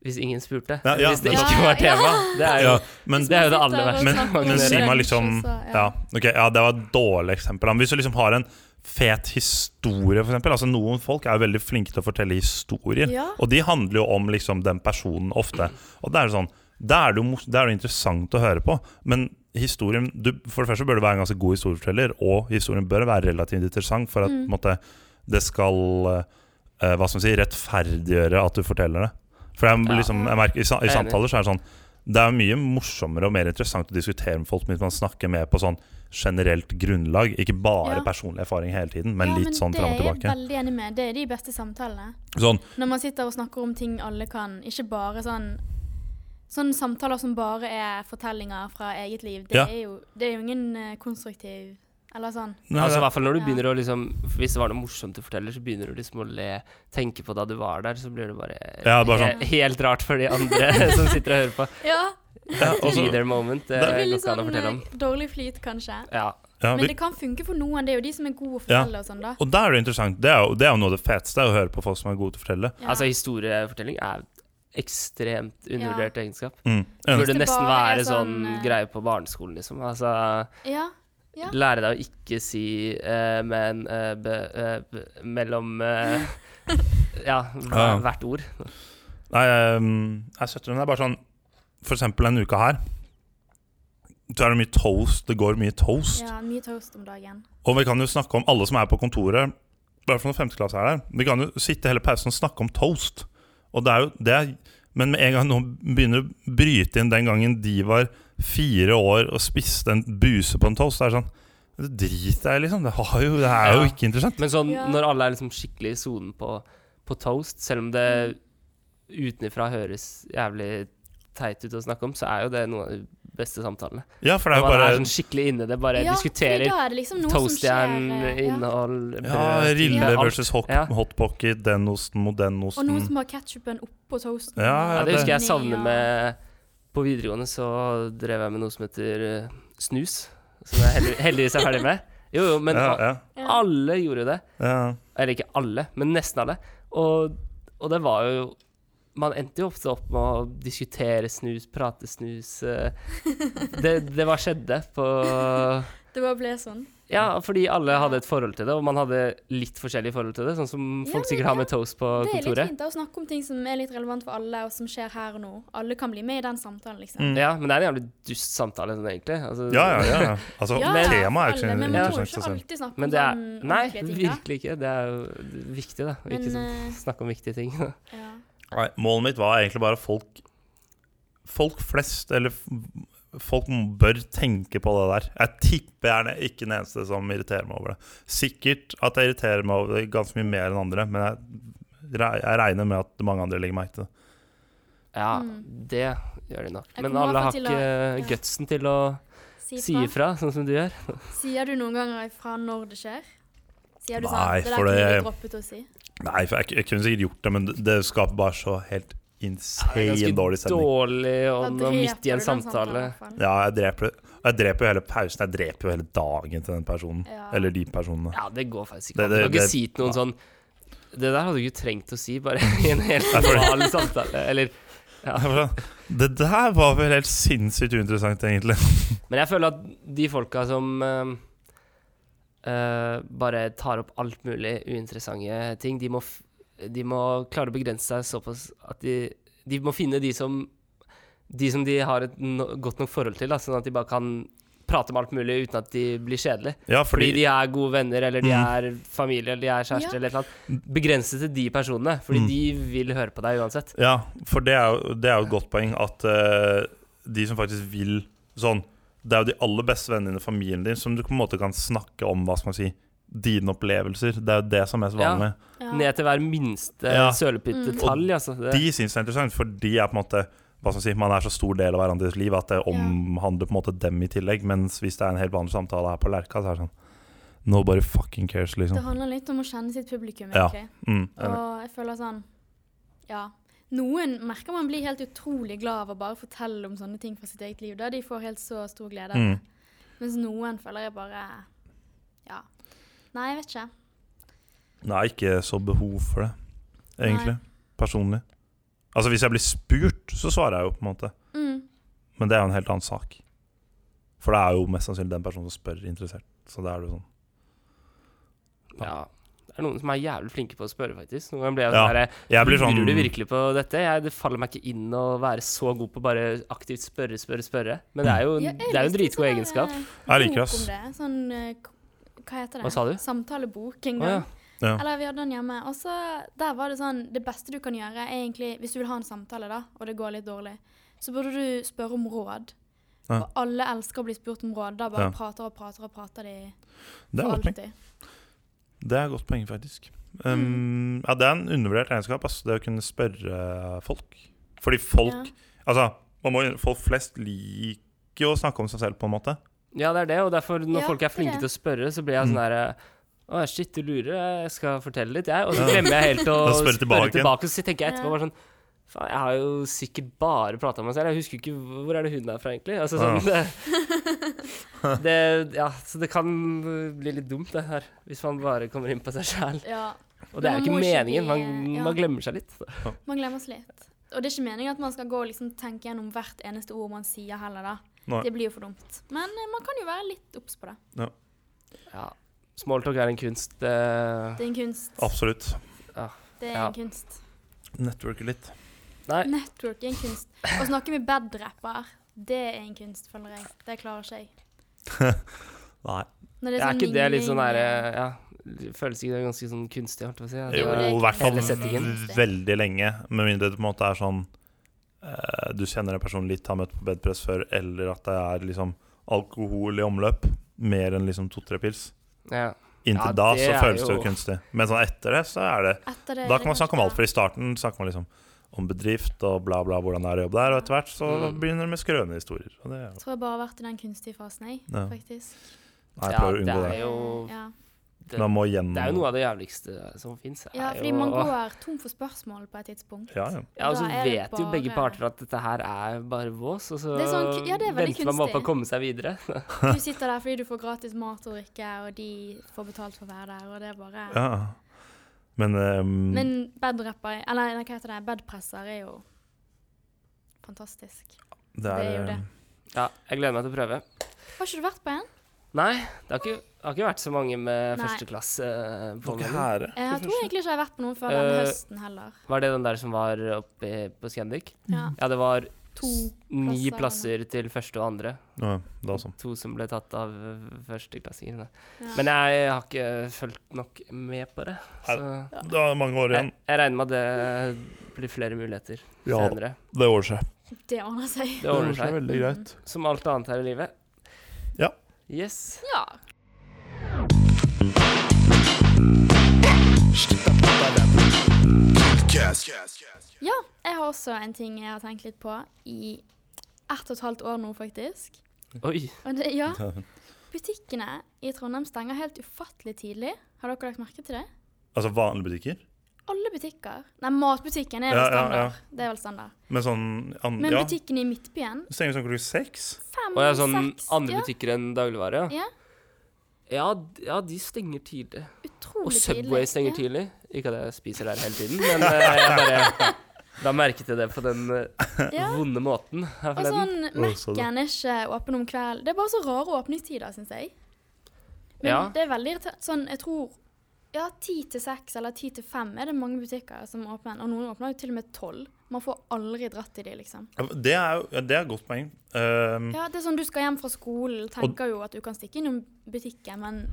Speaker 1: hvis ingen spurte.
Speaker 3: Ja, ja,
Speaker 1: hvis det
Speaker 3: men-
Speaker 1: ikke var
Speaker 2: Ja, ja.
Speaker 1: tema. Det er jo
Speaker 3: ja men
Speaker 1: Det er jo det aller verste.
Speaker 3: Men,
Speaker 1: Sånn,
Speaker 3: men
Speaker 1: det er
Speaker 3: si meg
Speaker 2: Lunsj,
Speaker 3: liksom
Speaker 2: og så-
Speaker 3: ja. ok, ja, det var et dårlig eksempel. Men hvis du liksom har en fet historie, for eksempel. Altså, noen folk er jo veldig flinke til å fortelle historier.
Speaker 2: Ja.
Speaker 3: Og de handler jo om liksom, den personen ofte. Og da er det sånn Da er det jo mos- da er det jo interessant å høre på. Men historien du, For det første bør du være en ganske god historieforteller, og historien bør være relativt interessant for at på en måte, det skal eh, Hva skal man si rettferdiggjøre at du forteller det. For jeg,
Speaker 1: Ja.
Speaker 3: liksom, jeg merker, i, sa- I
Speaker 1: Jeg er enig.
Speaker 3: samtaler så er det sånn det er mye morsommere og mer interessant å diskutere med folk hvis man snakker mer på sånn generelt grunnlag, ikke bare
Speaker 2: Ja.
Speaker 3: personlig erfaring hele tiden, men litt sånn fram og
Speaker 2: Det er
Speaker 3: tilbake.
Speaker 2: jeg veldig enig med. Det er de beste samtalene.
Speaker 3: Sånn,
Speaker 2: Når man sitter og snakker om ting alle kan, ikke bare sånn Sånne samtaler som bare er fortellinger fra eget liv, det,
Speaker 3: Ja.
Speaker 2: er, jo, det er jo ingen eh, konstruktiv Eller sånn.
Speaker 3: nei,
Speaker 1: altså, i
Speaker 3: det-
Speaker 1: hvert fall når du
Speaker 2: Ja.
Speaker 1: begynner å liksom Hvis det var noe morsomt du forteller, så begynner du liksom å le. Tenke på da du var der, så blir det bare,
Speaker 3: Ja, bare sånn.
Speaker 1: he- helt rart for de andre som sitter og hører på.
Speaker 2: Ja,
Speaker 3: ja, altså, og så-
Speaker 1: Be their moment. Det
Speaker 2: det blir
Speaker 1: går
Speaker 2: litt
Speaker 1: ikke an å
Speaker 2: sånn
Speaker 1: fortelle om.
Speaker 2: eh, dårlig flyt, kanskje.
Speaker 1: Ja.
Speaker 3: ja,
Speaker 2: Men
Speaker 3: vi-
Speaker 2: det kan funke for noen. Det er jo de som er gode å
Speaker 3: Ja.
Speaker 2: fortelle og sånn, da.
Speaker 3: Og da er det interessant. Det er, jo, det er jo noe av det feteste, er å høre på folk som er gode til å fortelle.
Speaker 2: Ja.
Speaker 1: Altså, historiefortelling er et ekstremt undervurdert egenskap.
Speaker 3: Mm.
Speaker 1: Det
Speaker 3: Enig.
Speaker 1: burde
Speaker 2: det
Speaker 1: nesten
Speaker 2: bare er
Speaker 1: være sånn
Speaker 2: sånn, eh,
Speaker 1: greie på barneskolen, liksom. Altså
Speaker 2: ja. Ja.
Speaker 1: Lære deg å ikke si eh, men eh, be, eh, be, mellom eh, Ja, hver,
Speaker 3: Ja.
Speaker 1: hvert ord.
Speaker 3: Nei, ehm, jeg støtter den. Det er bare sånn For eksempel denne uka her, så er det mye toast. Det går mye toast.
Speaker 2: ja, mye toast om dagen.
Speaker 3: Og vi kan jo snakke om alle som er på kontoret, i hvert fall når femteklasse er der, vi kan jo sitte hele pausen og snakke om toast. Og det er jo det er, Men med en gang noen begynner å bryte inn den gangen de var fire år og spiste en buse på en toast, det er sånn Det driter jeg i, liksom. Det, har jo, det er jo
Speaker 1: Ja.
Speaker 3: ikke interessant.
Speaker 1: Men sånn
Speaker 2: Ja.
Speaker 1: når alle er liksom skikkelig i sonen på, på toast, selv om det
Speaker 2: Mm.
Speaker 1: utenfra høres jævlig teit ut å snakke om, så er jo det noen av de beste samtalene.
Speaker 3: Ja, for det er
Speaker 1: Man
Speaker 3: jo
Speaker 1: er
Speaker 3: bare
Speaker 1: sånn skikkelig inne i det, bare
Speaker 2: Ja, fordi
Speaker 1: diskuterer
Speaker 2: da er det liksom noe som
Speaker 1: toastjern,
Speaker 2: skjer, eh, ja.
Speaker 1: innhold
Speaker 3: ja,
Speaker 1: brød,
Speaker 3: Rille
Speaker 1: alt.
Speaker 3: versus hot,
Speaker 1: Ja.
Speaker 3: hot pocket, den osten mot den
Speaker 2: Og noen
Speaker 3: osten.
Speaker 2: som har ketsjupen oppå toasten.
Speaker 3: Ja,
Speaker 1: Mm. Ja, det husker jeg
Speaker 2: Honning,
Speaker 1: savner
Speaker 2: og-
Speaker 1: med På videregående så drev jeg med noe som heter eh, snus, som jeg heldig, heldigvis er ferdig med. Jo, jo, men
Speaker 3: Ja,
Speaker 1: a-
Speaker 3: ja,
Speaker 2: Ja.
Speaker 1: alle gjorde det.
Speaker 3: ja.
Speaker 1: Eller ikke alle, men nesten alle. Og, og det var jo Man endte jo ofte opp med å diskutere snus, prate snus eh, Det, det var skjedde på
Speaker 2: Det bare ble sånn.
Speaker 1: Ja, fordi alle hadde et forhold til det, og man hadde litt forskjellig forhold til det, sånn som folk
Speaker 2: men
Speaker 1: sikkert har med toast på
Speaker 2: Det er litt
Speaker 1: kontoret.
Speaker 2: fint da, å snakke om ting som er litt relevant for alle, og som skjer her og nå. Alle kan bli med i den samtalen, liksom.
Speaker 3: Mm.
Speaker 1: Ja, men det er en jævlig dust samtale, sånn egentlig. Altså,
Speaker 3: ja, ja, ja. Altså,
Speaker 2: Ja,
Speaker 3: temaet er
Speaker 2: alle,
Speaker 3: ikke så
Speaker 2: Men man må jo
Speaker 3: interessant. altså.
Speaker 2: ikke
Speaker 3: å se.
Speaker 2: alltid snakke om
Speaker 1: Men det er
Speaker 2: sånn
Speaker 1: Nei,
Speaker 2: ordentlige ting, da.
Speaker 1: virkelig ikke. Det er jo viktig, da. å Ikke
Speaker 2: Men,
Speaker 1: sånn,
Speaker 2: eh,
Speaker 1: snakke om viktige ting.
Speaker 2: Ja.
Speaker 3: Nei, målet mitt var egentlig bare at folk Folk flest, eller f- folk bør tenke på det der. Jeg tipper jeg er ikke den eneste som irriterer meg over det. Sikkert at jeg irriterer meg over det ganske mye mer enn andre, men jeg, re- jeg regner med at mange andre legger merke til det.
Speaker 1: Ja,
Speaker 2: Mm.
Speaker 1: det gjør de nok.
Speaker 2: Jeg
Speaker 1: Men
Speaker 2: kommer i
Speaker 1: alle
Speaker 2: hvert
Speaker 1: har
Speaker 2: fall
Speaker 1: ikke
Speaker 2: til å- ja.
Speaker 1: gutsen til å
Speaker 2: Si
Speaker 1: si
Speaker 2: ifra.
Speaker 1: ifra, sånn som du gjør.
Speaker 2: Sier du noen ganger ifra når det skjer? Sier du
Speaker 3: Nei,
Speaker 2: sånn Det der
Speaker 3: for
Speaker 2: kunne
Speaker 3: det-
Speaker 2: vi droppet å si.
Speaker 3: Nei, for jeg, jeg kunne sikkert gjort det, men det, det skaper bare så helt insane dårlig
Speaker 1: Ganske
Speaker 3: stemning.
Speaker 1: dårlig
Speaker 2: Da
Speaker 1: og og
Speaker 2: dreper
Speaker 1: midt i
Speaker 2: du
Speaker 1: en
Speaker 2: den
Speaker 1: samtale.
Speaker 2: samtalen, i hvert fall.
Speaker 3: Ja, jeg dreper det. Og Jeg dreper jo hele pausen. Jeg dreper jo hele dagen til den personen.
Speaker 2: Ja.
Speaker 3: Eller de personene.
Speaker 1: Ja, det går faktisk ikke.
Speaker 3: Det- det-
Speaker 1: du kan ikke
Speaker 3: det-
Speaker 1: si til noen sånn Det der hadde du ikke trengt å si, bare i en helt
Speaker 3: for det.
Speaker 1: normal samtale. Eller,
Speaker 3: Jeg var sånn, Det der var vel helt sinnssykt uinteressant, egentlig.
Speaker 1: men jeg føler at de folka som eh, eh, bare tar opp alt mulig uinteressante ting, de må, f de må klare å begrense seg såpass at de, de må finne de som de som de har et no godt nok forhold til, da, sånn at de bare kan prate om alt mulig uten at de blir kjedelige.
Speaker 3: Ja,
Speaker 1: Fordi
Speaker 3: fordi,
Speaker 1: de er gode venner, eller de
Speaker 3: Mm.
Speaker 1: er familie, eller de er kjærester,
Speaker 2: Ja.
Speaker 1: eller et eller annet. Begrenset til de personene, fordi
Speaker 3: Mm.
Speaker 1: de vil høre på deg uansett.
Speaker 3: ja, for det er, jo, det er jo et godt poeng at eh, de som faktisk vil sånn Det er jo de aller beste vennene dine, familien din, som du på en måte kan snakke om hva skal man si, dine opplevelser. Det er jo det som er mest
Speaker 1: Ja.
Speaker 3: vanlig.
Speaker 2: Ja. Mm.
Speaker 1: Ned til hver minste
Speaker 3: Ja.
Speaker 1: sølepyttetalj, altså. Det,
Speaker 3: De syns det er interessant, for de er på en måte hva skal man, si, man er så stor del av hverandres liv at det omhandler på en måte dem i tillegg. Mens hvis det er en helt vanlig samtale her på Lerka, så er det sånn Nobody fucking cares,
Speaker 2: Det
Speaker 3: liksom.
Speaker 2: handler litt om å kjenne sitt publikum,
Speaker 3: Ja.
Speaker 2: egentlig.
Speaker 3: Mm.
Speaker 2: Og jeg føler sånn Ja. Noen merker man blir helt utrolig glad av å bare fortelle om sånne ting fra sitt eget liv. Da de får helt så stor glede. av
Speaker 3: Mm.
Speaker 2: det. Mens noen føler jeg bare Ja. Nei, jeg vet ikke.
Speaker 3: Nei, ikke så behov for det, egentlig. Personlig. Altså, hvis jeg blir spurt, så svarer jeg jo, på en måte.
Speaker 2: Mm.
Speaker 3: Men det er jo en helt annen sak. For det er jo mest sannsynlig den personen som spør, interessert. Så da er det jo sånn.
Speaker 1: ja. det er noen som er jævlig flinke på å spørre, faktisk. Noen ganger blir jeg
Speaker 3: Ja,
Speaker 1: sånn herre
Speaker 3: Jeg blir sånn
Speaker 1: Lurer du virkelig på dette? Jeg, det faller meg ikke inn å være så god på bare aktivt spørre, spørre, spørre. Men det er jo,
Speaker 2: Ja, jeg
Speaker 1: det er jo en
Speaker 2: leste
Speaker 1: dritgod
Speaker 2: sånn der,
Speaker 1: egenskap.
Speaker 2: eh,
Speaker 3: Jeg liker
Speaker 2: bok
Speaker 3: oss.
Speaker 2: om det. Sånn eh, k- Hva heter det?
Speaker 1: Hva sa du?
Speaker 2: Samtalebok en
Speaker 1: Å,
Speaker 2: gang.
Speaker 1: ja.
Speaker 3: Ja.
Speaker 2: Eller vi hadde den hjemme. Og så der var det sånn Det beste du kan gjøre, er egentlig Hvis du vil ha en samtale, da, og det går litt dårlig, så burde du spørre om råd.
Speaker 3: Ja.
Speaker 2: Og alle elsker å bli spurt om råd. Da bare
Speaker 3: Ja.
Speaker 2: prater og prater og prater de
Speaker 3: Det er
Speaker 2: for
Speaker 3: godt poeng.
Speaker 2: alltid.
Speaker 3: Det er godt poeng, faktisk. Um, ja, det er en undervurdert egenskap, ass, det å kunne spørre folk. Fordi folk
Speaker 2: Ja.
Speaker 3: Altså, man må, jo- folk flest liker jo å snakke om seg selv, på en måte.
Speaker 1: Ja, det er det, og derfor når
Speaker 2: Ja,
Speaker 1: folk
Speaker 2: det
Speaker 1: er
Speaker 2: er
Speaker 1: flinke
Speaker 2: det.
Speaker 1: til å spørre, så blir jeg
Speaker 3: Mm.
Speaker 1: sånn herre Å, shit, du lurer, jeg skal fortelle litt, jeg. Og så
Speaker 3: Ja.
Speaker 1: glemmer jeg helt å
Speaker 3: Da
Speaker 1: spørre
Speaker 3: spørre
Speaker 1: tilbake. og
Speaker 3: tilbake.
Speaker 1: så tenker jeg etterpå
Speaker 2: Ja.
Speaker 1: bare sånn Faen, jeg har jo sikkert bare prata med meg selv. Jeg husker ikke Hvor er det hun er fra, egentlig? Altså sånn det, det, Ja, så det kan bli litt dumt, det her. Hvis man bare kommer inn på seg sjæl.
Speaker 2: Ja.
Speaker 1: Og det er
Speaker 2: Men
Speaker 1: jo ikke
Speaker 2: man må ikke
Speaker 1: meningen. Man,
Speaker 2: bli- ja.
Speaker 1: man glemmer seg litt.
Speaker 2: Man glemmer seg litt. Og det er ikke meningen at man skal gå og liksom tenke gjennom hvert eneste ord man sier heller, da.
Speaker 3: Nei.
Speaker 2: Det blir jo for dumt. Men eh, man kan jo være litt obs på det.
Speaker 1: Ja. Smalltalk er en kunst. eh,
Speaker 2: Det er en kunst.
Speaker 3: Absolutt.
Speaker 2: Det er
Speaker 1: ja.
Speaker 2: en kunst.
Speaker 3: Networke litt.
Speaker 1: nei,
Speaker 2: Network er en kunst. Å snakke med badrapper, det er en kunst, føler jeg. Det klarer ikke jeg.
Speaker 3: Nei.
Speaker 2: Når
Speaker 1: det er ikke det litt sånn
Speaker 2: vingling,
Speaker 1: der
Speaker 2: eh,
Speaker 1: eh, Ja, føles ikke det ganske sånn kunstig, holdt jeg på å si? At
Speaker 3: Jo,
Speaker 1: det er-
Speaker 2: det
Speaker 3: i
Speaker 2: er
Speaker 3: hvert fall
Speaker 1: hele settingen.
Speaker 3: v- veldig lenge. Med mindre det på en måte er sånn eh, Du kjenner en person litt, har møtt på bedpress før, eller at det er liksom alkohol i omløp. Mer enn liksom to-tre pils.
Speaker 1: Ja.
Speaker 3: Inntil
Speaker 1: Ja,
Speaker 3: da
Speaker 1: det
Speaker 3: så
Speaker 1: er
Speaker 3: føles det
Speaker 1: jo-
Speaker 3: jo kunstig. Men sånn etter det, så er det
Speaker 2: eh, Etter det,
Speaker 3: Da
Speaker 2: det
Speaker 3: kan man snakke om alt,
Speaker 2: kanskje-
Speaker 3: for i starten snakker man liksom om bedrift og bla, bla, hvordan det er å jobbe der, og etter hvert så
Speaker 1: Mm.
Speaker 3: begynner det med skrøne historier. Og det, er jo-
Speaker 2: Jeg tror jeg bare har vært i den kunstige fasen, jeg.
Speaker 3: Ja.
Speaker 2: Faktisk.
Speaker 3: nei, jeg
Speaker 1: Ja,
Speaker 3: prøver å unngå
Speaker 1: det er
Speaker 3: det.
Speaker 1: jo
Speaker 2: Ja.
Speaker 1: det,
Speaker 3: Man må gjennom
Speaker 1: det er jo noe av det jævligste som fins.
Speaker 2: ja, fordi man går tom for spørsmål på et tidspunkt.
Speaker 3: Ja, ja.
Speaker 1: Ja, og så
Speaker 2: Da er
Speaker 1: vet
Speaker 2: det
Speaker 1: jo begge
Speaker 2: bare-
Speaker 1: parter at dette her er bare vås, og så
Speaker 2: Det er sånn- ja, det er veldig
Speaker 1: venter man bare på
Speaker 2: kunstig.
Speaker 1: å komme seg videre.
Speaker 2: Du sitter der fordi du får gratis mat og drikke, og de får betalt for å være der, og det er bare
Speaker 3: Ja. Men, ehm,
Speaker 2: Men badrapper Eller nei, hva heter det? Bedpresser er jo fantastisk.
Speaker 3: det er, eh,
Speaker 2: det er jo det.
Speaker 1: Ja, jeg gleder meg til å prøve.
Speaker 2: Har ikke du vært på en?
Speaker 1: Nei, det har ikke, har ikke vært så mange med
Speaker 2: Nei.
Speaker 1: førsteklasse på
Speaker 3: Dere
Speaker 1: Holmenkollen.
Speaker 3: her,
Speaker 2: Jeg tror egentlig ikke jeg har vært på noen før denne
Speaker 1: Eh,
Speaker 2: høsten heller.
Speaker 1: Var det den der som var oppe på Scandic?
Speaker 2: Ja.
Speaker 1: Ja, det var
Speaker 2: mm. To
Speaker 1: s- ni
Speaker 2: plasser,
Speaker 1: plasser til første og andre.
Speaker 3: Ja, da sånn.
Speaker 1: To som ble tatt av eh, førsteklassingene.
Speaker 2: Ja.
Speaker 1: Men jeg har ikke fulgt nok med på det. Så
Speaker 3: Da er mange år
Speaker 1: jeg,
Speaker 3: igjen.
Speaker 1: jeg regner med at det blir flere muligheter
Speaker 3: Ja,
Speaker 1: senere.
Speaker 3: det ordner seg.
Speaker 2: Det ordner seg.
Speaker 1: Det ordner seg.
Speaker 3: veldig greit.
Speaker 1: Som alt annet her i livet.
Speaker 3: Ja.
Speaker 1: Yes.
Speaker 2: Ja. ja. Jeg har også en ting jeg har tenkt litt på i ett og et halvt år nå, faktisk.
Speaker 1: Oi.
Speaker 2: Og det, ja,
Speaker 3: Dæven.
Speaker 2: Butikkene i Trondheim stenger helt ufattelig tidlig. Har dere lagt merke til det?
Speaker 3: Altså vanlige butikker?
Speaker 2: Alle butikker. Nei, matbutikken er vel
Speaker 3: Ja, ja,
Speaker 2: standard.
Speaker 3: ja.
Speaker 2: Det er vel standard.
Speaker 3: Men sånn an,
Speaker 2: Men
Speaker 3: Ja. Det
Speaker 2: butikken i Midtbyen
Speaker 3: stenger sånn klokka seks.
Speaker 2: Fem,
Speaker 1: Og jeg har sånn
Speaker 2: seks
Speaker 1: andre butikker enn dagligvare, ja.
Speaker 2: Ja,
Speaker 1: Ja, d- ja, de stenger tidlig.
Speaker 2: utrolig
Speaker 1: Og
Speaker 2: tidlig.
Speaker 1: Subway stenger tidlig. Ikke at jeg spiser der hele tiden, men eh, jeg bare Da merket jeg det på den eh,
Speaker 2: Ja.
Speaker 1: vonde måten her
Speaker 2: Og
Speaker 1: forleden.
Speaker 2: sånn,
Speaker 3: Å, sa du.
Speaker 2: Mac-en er ikke åpen om kvelden. Det er bare så rare åpningstider, syns jeg. Men
Speaker 1: Ja.
Speaker 2: det er veldig irriterende. Sånn, jeg tror ja, ti til seks eller ti til fem er det mange butikker som er åpne. Og noen åpner jo til og med tolv. Man får aldri dratt i de, liksom.
Speaker 3: Ja, Det er jo ja, det er et godt poeng. Ehm,
Speaker 2: Ja, det er sånn Du skal hjem fra skolen, tenker jo at du kan stikke innom butikken, men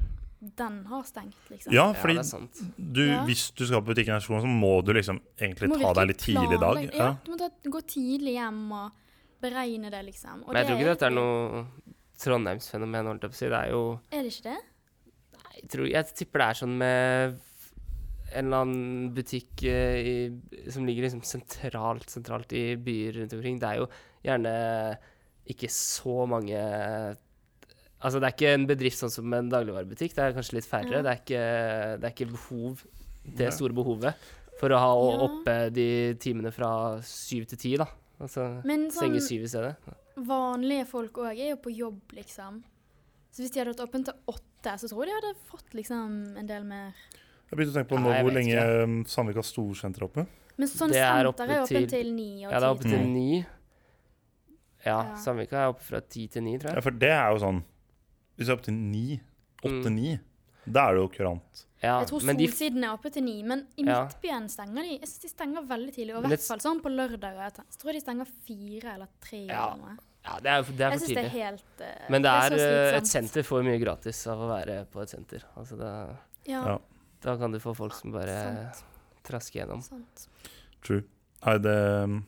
Speaker 2: den har stengt, liksom.
Speaker 3: ja,
Speaker 1: Ja,
Speaker 3: fordi
Speaker 1: det er sant.
Speaker 3: du,
Speaker 2: Ja.
Speaker 3: hvis du skal på butikken, her i skolen, så må du liksom egentlig
Speaker 2: Du må
Speaker 3: ta deg litt
Speaker 2: virkelig
Speaker 3: tidlig i dag.
Speaker 2: planlegge.
Speaker 3: Ja.
Speaker 2: Ja, du må ta, gå tidlig hjem og beregne det, liksom. Og
Speaker 1: Men jeg tror ikke dette er
Speaker 2: egentlig-
Speaker 1: noe Trondheimsfenomen, holdt jeg på å si. Det er jo
Speaker 2: Er det ikke det?
Speaker 1: jeg, tror, jeg tipper det er sånn med en eller annen butikk eh, i, som ligger liksom sentralt, sentralt i byer rundt omkring. Det er jo gjerne ikke så mange Altså, det er ikke en bedrift sånn som en dagligvarebutikk. Det er kanskje litt færre.
Speaker 2: Ja.
Speaker 1: Det, er ikke, det er ikke behov,
Speaker 3: Ja.
Speaker 1: det store behovet for å ha å-
Speaker 2: Ja.
Speaker 1: oppe de timene fra syv til ti, da. Altså
Speaker 2: Men
Speaker 1: stenge
Speaker 2: sånn
Speaker 1: syv i stedet.
Speaker 2: vanlige folk òg er jo på jobb, liksom. Så hvis de hadde vært åpne til åtte, så tror jeg de hadde fått liksom en del mer.
Speaker 3: Jeg begynte å tenke på nå
Speaker 1: Nei, jeg
Speaker 3: hvor
Speaker 1: vet
Speaker 3: lenge
Speaker 1: ikke.
Speaker 3: ehm, Sandvik har storsenter oppe.
Speaker 2: Men sånn
Speaker 1: Det er oppe
Speaker 2: senter er jo
Speaker 1: til-
Speaker 2: åpent til ni og
Speaker 1: Ja, det er
Speaker 2: ti.
Speaker 1: oppe til
Speaker 3: Mm.
Speaker 1: ni. Ja,
Speaker 2: Ja.
Speaker 1: Sandvika er oppe fra ti til ni, tror
Speaker 3: Ja,
Speaker 1: jeg.
Speaker 3: for det er jo sånn Hvis det er opp til ni,
Speaker 1: Mm.
Speaker 3: åtte-ni, da er det jo kurant.
Speaker 1: Ja,
Speaker 2: Jeg tror
Speaker 1: men de f-
Speaker 2: Solsiden er oppe til ni, men i
Speaker 1: Ja.
Speaker 2: Midtbyen stenger de. Jeg synes de stenger veldig tidlig. Og
Speaker 1: Men
Speaker 2: i
Speaker 1: det-
Speaker 2: hvert fall sånn på lørdager. Jeg ten- tror de stenger fire eller tre.
Speaker 1: Ja,
Speaker 2: eller noe.
Speaker 1: ja, det er, jo- det er
Speaker 2: Jeg
Speaker 1: for
Speaker 2: syns det er
Speaker 1: tidlig.
Speaker 2: helt eh,
Speaker 1: Men det er,
Speaker 2: så
Speaker 1: eh, et
Speaker 2: slitsomt.
Speaker 1: senter får mye gratis av å være på et senter. Altså da,
Speaker 2: Ja,
Speaker 3: Ja.
Speaker 1: da kan du få folk som bare
Speaker 2: sant.
Speaker 1: trasker gjennom.
Speaker 2: sant.
Speaker 3: True. Nei, det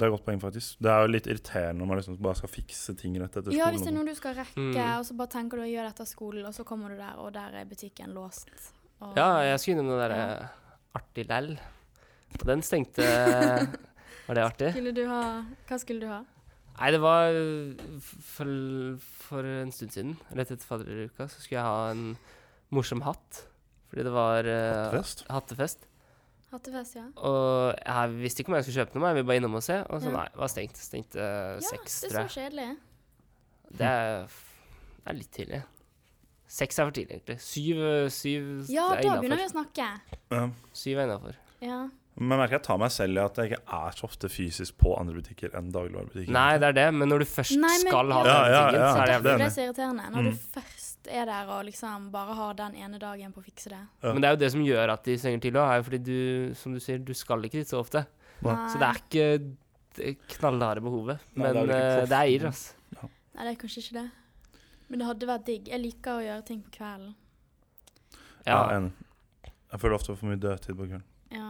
Speaker 3: Det er et godt poeng, faktisk. Det er jo litt irriterende når man liksom bare skal fikse ting rett etter
Speaker 2: Ja, hvis det er
Speaker 3: skolen. sånn.
Speaker 2: noe du skal rekke,
Speaker 1: Mm.
Speaker 2: og så bare tenker du å gjøre det etter skolen, og så kommer du der, og der er butikken låst. Og...
Speaker 1: Ja, jeg skulle innom den derre Artig Læll. Og den stengte Var det artig?
Speaker 2: Skulle du ha Hva skulle du ha?
Speaker 1: Nei, det var øh, for, for en stund siden, rett etter fadderuka, så skulle jeg ha en morsom hatt. Fordi det var øh,
Speaker 3: Hattefest?
Speaker 1: hattefest.
Speaker 2: Hattefest, ja.
Speaker 1: Og jeg visste ikke om jeg skulle kjøpe noe, men jeg ville bare innom og se. Og så
Speaker 2: Ja.
Speaker 1: nei, det var stengt. Stengte øh, seks,
Speaker 2: ja,
Speaker 1: tror
Speaker 2: det er
Speaker 1: jeg.
Speaker 2: så kjedelig.
Speaker 1: Det er, f- det er litt tidlig. Seks er for tidlig, egentlig. Syv, øh, syv
Speaker 2: Ja,
Speaker 1: er
Speaker 2: da begynner vi
Speaker 1: innafor.
Speaker 2: å snakke.
Speaker 3: Ja.
Speaker 1: Syv er innafor.
Speaker 2: Ja.
Speaker 3: Men jeg merker jeg tar meg selv i at jeg ikke er så ofte fysisk på andre butikker enn dagligvarebutikker.
Speaker 1: Nei, det er det, men når du først
Speaker 2: Nei, men-
Speaker 1: skal ha
Speaker 2: Ja,
Speaker 1: den
Speaker 3: ja,
Speaker 1: butikken,
Speaker 3: ja.
Speaker 1: så er det
Speaker 2: Derfor
Speaker 1: jævlig
Speaker 2: er det
Speaker 3: enig.
Speaker 2: så irriterende. Når
Speaker 3: Mm.
Speaker 2: du først er der og liksom bare har den ene dagen på å fikse det.
Speaker 3: Ja.
Speaker 1: Men det er jo det som gjør at de stenger til òg, er jo fordi du, som du sier, du skal ikke dit så ofte. Så det er ikke det knallharde behovet,
Speaker 3: Nei,
Speaker 1: men
Speaker 3: det er vel ikke
Speaker 1: eh,
Speaker 3: proff.
Speaker 1: det er irr, altså.
Speaker 2: Nei, det er kanskje ikke det. Men det hadde vært digg. Jeg liker å gjøre ting på kvelden.
Speaker 1: Ja.
Speaker 3: jeg er enig. Jeg føler ofte for mye dødtid på kvelden.
Speaker 2: Ja.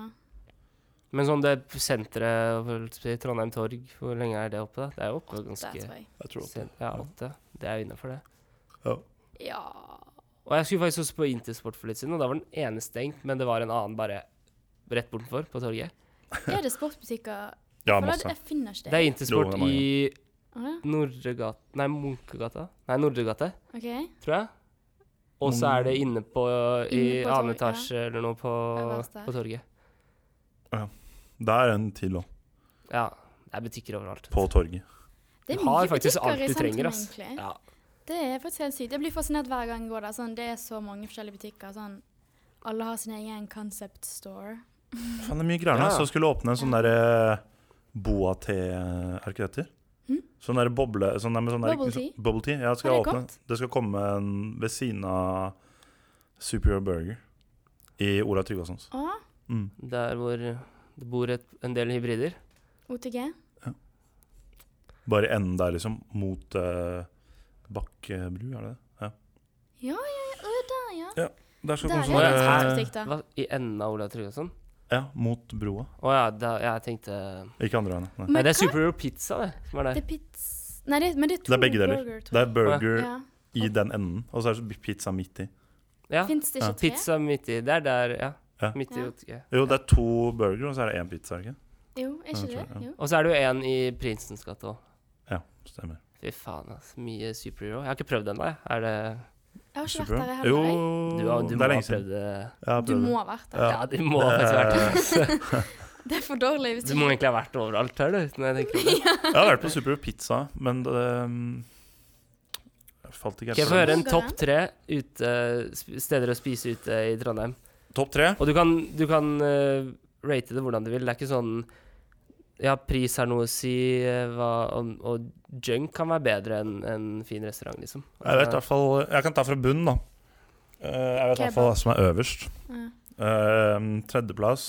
Speaker 1: Men sånn det senteret hva skal jeg si, Trondheim Torg, hvor lenge er det oppe, da? Det er jo oppe
Speaker 2: Det
Speaker 1: ganske
Speaker 2: tror jeg.
Speaker 3: Jeg tror
Speaker 1: sent. Ja, åtte. Det er jo innafor, det.
Speaker 2: Ja.
Speaker 1: Og jeg skulle faktisk også på Intersport for litt siden, og da var den ene stengt, men det var en annen bare rett bortenfor, på torget.
Speaker 2: Er det sportsbutikker?
Speaker 3: Ja,
Speaker 2: For da-
Speaker 3: masse.
Speaker 2: Jeg finner ikke
Speaker 1: Det er
Speaker 2: det.
Speaker 1: Intersport
Speaker 3: Jo, det er mange.
Speaker 1: i
Speaker 2: Å, ja.
Speaker 1: Nordregata Nei, Munkegata? Nei, Nordregata,
Speaker 2: OK.
Speaker 1: tror jeg. Og så er det
Speaker 3: Mm.
Speaker 1: inne på i
Speaker 2: Inne på
Speaker 1: annen
Speaker 2: torg, ja.
Speaker 1: etasje eller noe på,
Speaker 2: Øverst der.
Speaker 1: på torget.
Speaker 3: Det er en til òg.
Speaker 1: Ja. Det er butikker overalt.
Speaker 3: På torget.
Speaker 2: Det er
Speaker 1: Du har
Speaker 2: mye
Speaker 1: faktisk alt
Speaker 2: butikker i
Speaker 1: du trenger,
Speaker 2: sentrum,
Speaker 1: ass.
Speaker 2: egentlig.
Speaker 1: Ja.
Speaker 2: Det er faktisk helt sykt. Jeg blir fascinert hver gang jeg går der. Sånn, det er så mange forskjellige butikker. Sånn, alle har sin egen concept store.
Speaker 3: Faen, det er mye greier nå.
Speaker 1: Ja.
Speaker 3: Så skulle åpne en sånn derre Boa-te Er det ikke det heter? Sånn derre boble sånn der med sånn der-
Speaker 2: Hm? Bubble tea?
Speaker 3: Bubble tea. Ja, det skal
Speaker 2: Er det
Speaker 3: åpne.
Speaker 2: godt?
Speaker 3: Det skal komme en ved siden av Superior Burger i Ola Tryggvasons.
Speaker 2: Å,
Speaker 3: Mm.
Speaker 1: Der hvor det bor et, en del hybrider.
Speaker 2: OTG.
Speaker 3: Bare i enden der, liksom. Mot eh, Bakkebru, er det det? Ja.
Speaker 2: Ja, ja, ja. Å, der, ja.
Speaker 3: Der skal
Speaker 2: Der
Speaker 3: komme
Speaker 2: er
Speaker 3: sånn
Speaker 1: det en
Speaker 3: derre-
Speaker 2: sportsbutikk, da.
Speaker 1: Hva, I enden av Ola Tryggvason?
Speaker 3: Ja, mot broa.
Speaker 1: sånn. Å ja, da, jeg tenkte
Speaker 3: Ikke andre veien. Nei.
Speaker 1: Nei,
Speaker 2: Men
Speaker 1: det er
Speaker 2: hva-
Speaker 1: Superhero Pizza, det, som er
Speaker 2: Det
Speaker 1: der.
Speaker 2: er pizz... Nei, det, men det er to
Speaker 3: Det er begge deler.
Speaker 2: burger, tror
Speaker 3: Det er
Speaker 2: jeg.
Speaker 3: burger
Speaker 2: Ja.
Speaker 3: i den enden, og så er det pizza midt i.
Speaker 1: Ja.
Speaker 2: Fins det
Speaker 3: Ja.
Speaker 2: ikke tre?
Speaker 1: Pizza midt i. Det er der, ja.
Speaker 3: Ja.
Speaker 1: Midt i
Speaker 2: Ja.
Speaker 1: Otke.
Speaker 3: Jo, det er to burger, og så er det én pizza, er det ikke?
Speaker 2: Jo, er ikke
Speaker 3: Ja, jeg tror
Speaker 2: det?
Speaker 3: det,
Speaker 2: Jo.
Speaker 1: Og så er det jo en i Prinsens gate òg.
Speaker 3: Ja, stemmer.
Speaker 1: Fy faen, ass. Mye Superhero. Jeg har ikke prøvd den, nei. Er det
Speaker 2: Jeg har ikke vært
Speaker 3: Superbra.
Speaker 2: der, jeg
Speaker 3: Jo,
Speaker 2: heller. jeg.
Speaker 1: Du, har- du
Speaker 3: Mm, det
Speaker 1: må ha
Speaker 3: er lenge siden.
Speaker 1: prøvd det.
Speaker 3: Jeg har
Speaker 2: Du
Speaker 3: prøvd det.
Speaker 2: må ha vært der.
Speaker 3: Ja.
Speaker 1: Ja, du må faktisk ha vært der. ass.
Speaker 2: Det er for dårlig hvis
Speaker 1: Du
Speaker 2: du
Speaker 1: må egentlig ha vært overalt her, du. Når jeg tenker på det.
Speaker 3: Jeg har vært på Super Pizza, men det um, jeg falt
Speaker 1: Kan
Speaker 3: ikke
Speaker 1: jeg få
Speaker 3: helt for
Speaker 1: høre
Speaker 3: det.
Speaker 1: en topp tre ute, sp- steder å spise ute i Trondheim?
Speaker 3: Topp tre.
Speaker 1: Og du kan, du kan eh, rate det hvordan du vil. Det er ikke sånn Ja, pris har noe å si, eh, hva, og, og junk kan være bedre enn en fin restaurant, liksom.
Speaker 3: Jeg vet i hvert fall Jeg kan ta fra bunnen, da. Eh, Jeg vet i hvert fall hva som er øverst.
Speaker 2: Ja.
Speaker 3: Eh, tredjeplass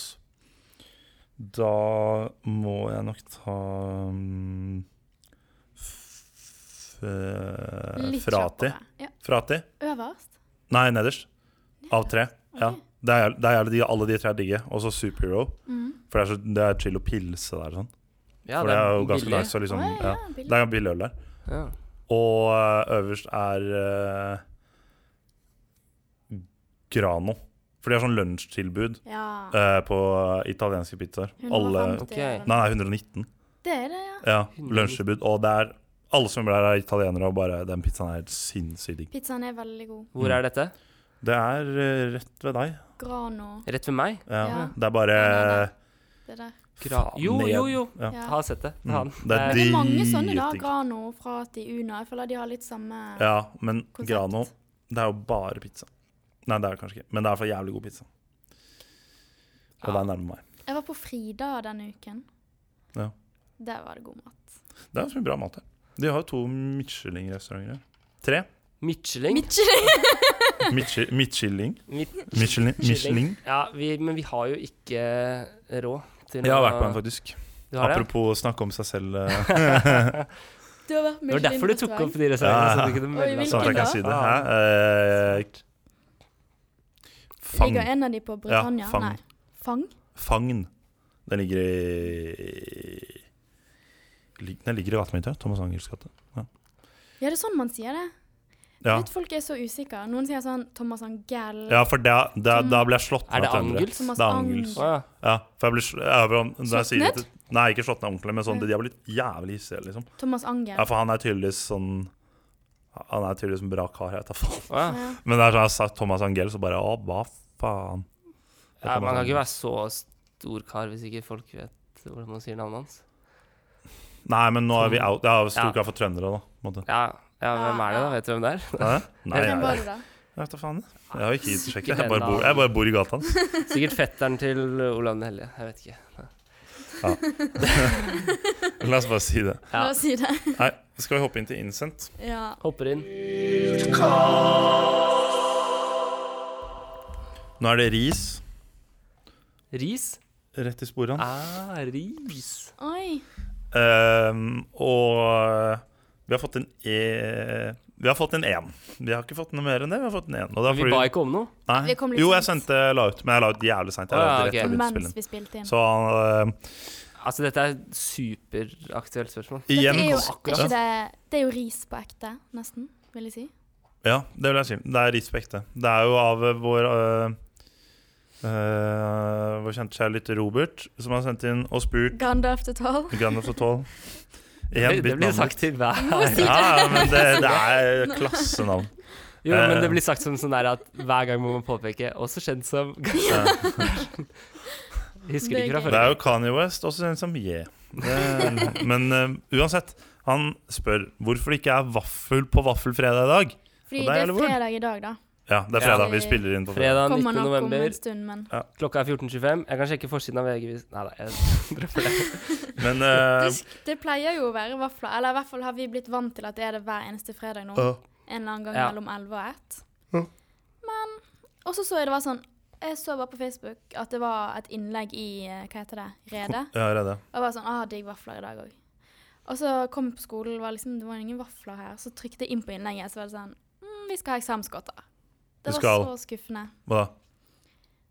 Speaker 3: Da må jeg nok ta mm, f- eh,
Speaker 2: Litt
Speaker 3: Frati.
Speaker 2: kjappere. Ja.
Speaker 3: Frati?
Speaker 2: Øverst?
Speaker 3: Nei, nederst. Av tre. Ja.
Speaker 2: Ok.
Speaker 3: Det er, det er de, alle de tre er digge. Og så Superhero.
Speaker 2: Mhm.
Speaker 3: For det er, så, det er chill å pilse der. Sånn.
Speaker 1: Ja,
Speaker 3: For det er jo ganske
Speaker 1: billig.
Speaker 3: nice. å
Speaker 2: Å,
Speaker 3: Liksom,
Speaker 2: ja,
Speaker 3: ja.
Speaker 2: ja, billig.
Speaker 3: Det er jo billig øl der.
Speaker 1: Ja.
Speaker 3: Og eh, øverst er eh, Grano. For de har sånn lunsjtilbud
Speaker 2: Ja.
Speaker 3: eh, på italienske pizzaer. Alle
Speaker 2: 150
Speaker 1: Ok.
Speaker 2: eller noe.
Speaker 3: Nei, 119.
Speaker 2: Det er det, ja.
Speaker 3: Ja, lunsjtilbud. Og det er alle som jobber der, er italienere, og bare den pizzaen er helt sinnssykt digg.
Speaker 2: Pizzaen er veldig god.
Speaker 3: Mm.
Speaker 1: Hvor er dette?
Speaker 3: Det er eh, rett ved deg.
Speaker 2: Grano,
Speaker 1: Rett ved meg?
Speaker 3: Ja.
Speaker 2: Ja.
Speaker 3: Det er bare
Speaker 2: Nei, det der.
Speaker 1: Gra jo, jo, jo.
Speaker 3: Ja.
Speaker 1: Jeg har sett det.
Speaker 3: Mm.
Speaker 1: Han.
Speaker 3: Det er
Speaker 2: Det er mange sånne, da.
Speaker 3: Dritdigg.
Speaker 2: Grano, Frati, Una. Jeg føler de har litt samme
Speaker 3: ja, men
Speaker 2: Konsept.
Speaker 3: Grano Det er jo bare pizza. Nei, det er det kanskje ikke, men det er iallfall jævlig god pizza. Og det
Speaker 1: Ja.
Speaker 3: er nærme meg.
Speaker 2: Jeg var på Frida denne uken.
Speaker 3: Ja.
Speaker 2: Der var det god mat.
Speaker 3: Det er ganske mye bra mat her. De har jo to Michelin-restauranter. her. Tre.
Speaker 1: Michelin.
Speaker 3: Michi- Michelin.
Speaker 1: Mitt
Speaker 3: Michelin. Michelin.
Speaker 1: Ja, vi, men vi har jo ikke råd til
Speaker 3: Jeg har
Speaker 1: noe-
Speaker 3: vært på en, faktisk.
Speaker 1: Du har det?
Speaker 3: Apropos snakke om seg selv. eh,
Speaker 2: Det var,
Speaker 1: Det var derfor du tok opp de restaurantene.
Speaker 3: Ja.
Speaker 1: sånn at du kunne
Speaker 2: Oi,
Speaker 1: melde deg
Speaker 3: Sånn at jeg
Speaker 1: på.
Speaker 3: kan si det. Hæ? Eh,
Speaker 2: Ligger
Speaker 3: fang.
Speaker 2: en av de på Britannia?
Speaker 3: Ja, Fang.
Speaker 2: Nei. Fang?
Speaker 3: Fagn. Den ligger i lig- Den ligger i Vatmyta. Thomas Angels gate.
Speaker 2: Ja, det er sånn man sier det.
Speaker 3: Ja.
Speaker 2: Vet, folk er så usikre. Noen sier sånn Thomas Angell.
Speaker 3: ja, for da, da, da ble jeg slått
Speaker 1: Er
Speaker 3: ned.
Speaker 1: det
Speaker 3: av trøndere.
Speaker 1: Angels?
Speaker 2: Thomas
Speaker 3: Det er
Speaker 2: Angell.
Speaker 3: Angels.
Speaker 1: Å, ja.
Speaker 3: Ja, for jeg ble sl jeg, ble- da
Speaker 2: Slått
Speaker 3: sier jeg
Speaker 2: ned?
Speaker 3: til- Nei, ikke slått ned ordentlig, men sånn, de har blitt jævlig hissige, liksom.
Speaker 2: Thomas Angell.
Speaker 3: Ja, for han er tydeligvis sånn Han er tydeligvis en bra kar, jeg vet da faen.
Speaker 1: Å, ja.
Speaker 2: Ja.
Speaker 3: Men det er sånn jeg har sagt Thomas Angell, så bare Å, hva faen?
Speaker 1: Ja, man kan ikke være så stor kar hvis ikke folk vet hvordan man sier navnet hans.
Speaker 3: Nei, men nå er vi out. Jeg har stor
Speaker 1: sånn. Ja.
Speaker 3: kar for trøndere, da. på en Måte.
Speaker 1: Ja, ja, hvem er det, da? Vet du hvem det er?
Speaker 3: Hæ? Nei,
Speaker 2: Hvem var
Speaker 3: jeg,
Speaker 2: det, da?
Speaker 3: jeg vet da faen. jeg. Jeg har ikke gitt sjekket. Jeg
Speaker 1: Sikkert en
Speaker 3: bare bor, jeg bare bor i gata hans.
Speaker 1: Sikkert fetteren til Olav den hellige. Jeg vet ikke.
Speaker 3: La oss bare si det.
Speaker 1: Ja.
Speaker 2: La oss si det.
Speaker 3: Nei, skal vi hoppe inn til innsendt?
Speaker 2: Ja.
Speaker 1: Hopper inn.
Speaker 3: Nå er det ris
Speaker 1: Ris.
Speaker 3: rett i sporene.
Speaker 1: Ah, ris.
Speaker 2: Oi.
Speaker 3: Ehm, og eh, vi har fått en e... Vi har fått en én. Vi har ikke fått noe mer enn det. Vi har fått en én. Og det er
Speaker 1: Vi
Speaker 3: fordi-
Speaker 1: ba ikke om noe.
Speaker 3: Nei.
Speaker 2: Vi kom litt
Speaker 3: Jo, jeg
Speaker 2: sent.
Speaker 3: sendte la ut, men jeg la ut jævlig seint.
Speaker 1: Å, ja, ok.
Speaker 2: Mens vi spilte inn.
Speaker 3: Så ehm,
Speaker 1: Altså, dette er et superaktuelt spørsmål.
Speaker 2: Dette
Speaker 3: igjen
Speaker 2: er jo,
Speaker 1: akkurat.
Speaker 2: er ikke det, det er jo ris på ekte, nesten, vil jeg si.
Speaker 3: Ja, det vil jeg si. Det er respekt, det. Det er jo av eh, vår øh, øh, Vår kjente kjære lytter Robert, som har sendt inn og spurt
Speaker 2: Gandalf the Tall.
Speaker 3: Grand Theft Auto.
Speaker 1: Det,
Speaker 3: Igjen,
Speaker 1: det
Speaker 3: bytt
Speaker 1: blir
Speaker 3: navn.
Speaker 1: sagt til hver
Speaker 3: Ja, ja, men det, det er klassenavn.
Speaker 1: Jo, men det
Speaker 3: Eh.
Speaker 1: blir sagt som sånn der at hver gang må man påpeke 'også kjent som'
Speaker 3: Ja.
Speaker 1: Husker
Speaker 2: Det er
Speaker 1: ikke fra
Speaker 2: gøy.
Speaker 3: Det er
Speaker 1: forrige.
Speaker 3: jo Kanye West, også kjent som Ye. Det- Men eh, uansett, han spør hvorfor det ikke er vaffel på vaffelfredag i dag.
Speaker 2: Fordi det
Speaker 3: Og det er
Speaker 2: er
Speaker 3: jævlig vondt.
Speaker 2: fredag i dag, da.
Speaker 3: Ja, det er
Speaker 1: Ja.
Speaker 3: fredag. Vi spiller inn på
Speaker 1: Fredag 19.
Speaker 3: fredag.
Speaker 2: Kommer nok om
Speaker 1: november.
Speaker 2: en stund, men
Speaker 1: Klokka er 14.25. Jeg kan sjekke forsiden av VG hvis Nei da, jeg dropper det.
Speaker 3: Men eh,
Speaker 2: det, det pleier jo å være vafler. Eller i hvert fall har vi blitt vant til at det er det hver eneste fredag nå.
Speaker 3: Ja.
Speaker 2: En eller annen gang
Speaker 1: Ja.
Speaker 2: mellom 11 og 1.
Speaker 3: Ja.
Speaker 2: Men også så jeg det var sånn Jeg så bare på Facebook at det var et innlegg i eh, Hva heter det? Rede?
Speaker 3: Ja, jeg er redd.
Speaker 2: Og jeg var sånn ah, digg vafler i dag òg. Og så kom jeg på skolen, var liksom, det var ingen vafler her. Så trykte jeg inn på innlegget, så var det sånn mm, Vi skal ha eksamensgodter.
Speaker 3: Du
Speaker 2: Det var
Speaker 3: skal-
Speaker 2: så skuffende.
Speaker 3: Hva da?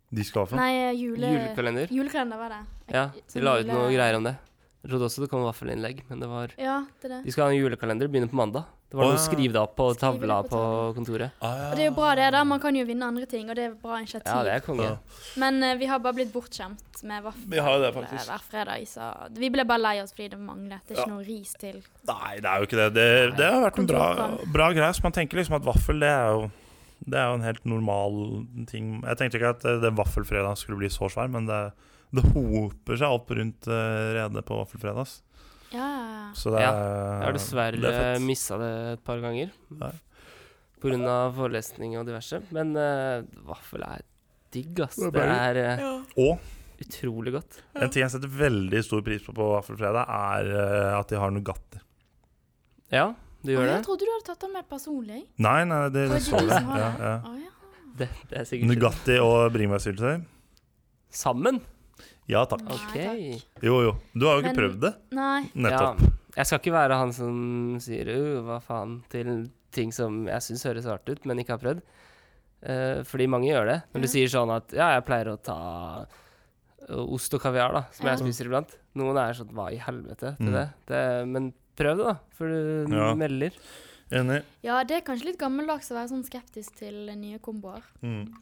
Speaker 3: De skal ha for noe?
Speaker 2: Nei, eh, jule...
Speaker 1: Julekalender.
Speaker 2: julekalender var det.
Speaker 1: Ja, de
Speaker 2: Sånn
Speaker 1: la ut noe
Speaker 2: jule-
Speaker 1: greier om det. Jeg trodde også det kom vaffelinnlegg, men det var
Speaker 2: Ja, det er det.
Speaker 1: De skal ha en julekalender, begynne på mandag. Det var
Speaker 3: Å,
Speaker 1: noe
Speaker 3: ja.
Speaker 1: skriv det opp på
Speaker 2: Skriv det
Speaker 1: tavla
Speaker 2: på
Speaker 1: på
Speaker 2: tavla.
Speaker 1: kontoret.
Speaker 3: Ah,
Speaker 2: Og det er jo bra det, da. Man kan jo vinne andre ting, og det er bra initiativ.
Speaker 1: Ja, det er konge.
Speaker 3: Ja.
Speaker 2: Men eh, vi har bare blitt bortskjemt med vaffel
Speaker 3: Vi har jo det, faktisk.
Speaker 2: hver fredag. Så vi ble bare lei oss fordi det manglet. Det er
Speaker 3: Ja.
Speaker 2: ikke noe ris til.
Speaker 3: Nei, det er jo ikke det. Det, det har vært en bra, bra greie. Så man tenker liksom at vaffel, det er jo det er jo en helt normal ting. Jeg tenkte ikke at eh, det vaffelfredag skulle bli så svær, men det, det hoper seg opp rundt eh, redet på vaffelfredag. ass.
Speaker 2: Ja, ja, ja.
Speaker 3: Så det er,
Speaker 1: Ja, Jeg har
Speaker 3: det er
Speaker 1: dessverre
Speaker 3: fett.
Speaker 1: missa det et par ganger.
Speaker 3: Nei.
Speaker 1: Pga. forelesning og diverse. Men eh, vaffel er digg, ass.
Speaker 3: Det er
Speaker 1: Det
Speaker 3: bare-
Speaker 1: er eh,
Speaker 3: Og
Speaker 1: utrolig godt.
Speaker 3: en ting jeg setter veldig stor pris på på Vaffelfredag, er eh, at de har Nugatti.
Speaker 1: Ja, du gjør
Speaker 2: jeg
Speaker 1: det?
Speaker 2: trodde du hadde tatt den med personlig.
Speaker 3: Nei, nei,
Speaker 2: Å,
Speaker 3: det, det
Speaker 2: det er
Speaker 3: så
Speaker 2: de
Speaker 3: jeg.
Speaker 2: som har
Speaker 3: Ja,
Speaker 2: det.
Speaker 3: ja.
Speaker 2: Å, ja.
Speaker 1: Det, det er sikkert ikke-
Speaker 3: Nugatti og bringebærsyltetøy?
Speaker 1: Sammen?
Speaker 3: Ja takk.
Speaker 1: OK.
Speaker 2: Nei,
Speaker 3: Jo jo. Du har jo ikke
Speaker 2: Men-
Speaker 3: prøvd det.
Speaker 2: Nei.
Speaker 1: Ja.
Speaker 3: Nettopp.
Speaker 1: Jeg skal ikke være han som sier «Øh, hva faen til ting som jeg syns høres rart ut, men ikke har prøvd. Eh, fordi mange gjør det. Når du
Speaker 2: Ja.
Speaker 1: sier sånn at ja, jeg pleier å ta eh, ost og kaviar, da, som jeg
Speaker 2: Ja.
Speaker 1: spiser iblant. Noen er sånn hva i helvete til
Speaker 3: Mm.
Speaker 1: det? det? Men prøv det, da, før du
Speaker 3: Ja.
Speaker 1: melder.
Speaker 3: Enig.
Speaker 2: Ja, det er kanskje litt gammeldags å være sånn skeptisk til nye komboer.
Speaker 3: Mm.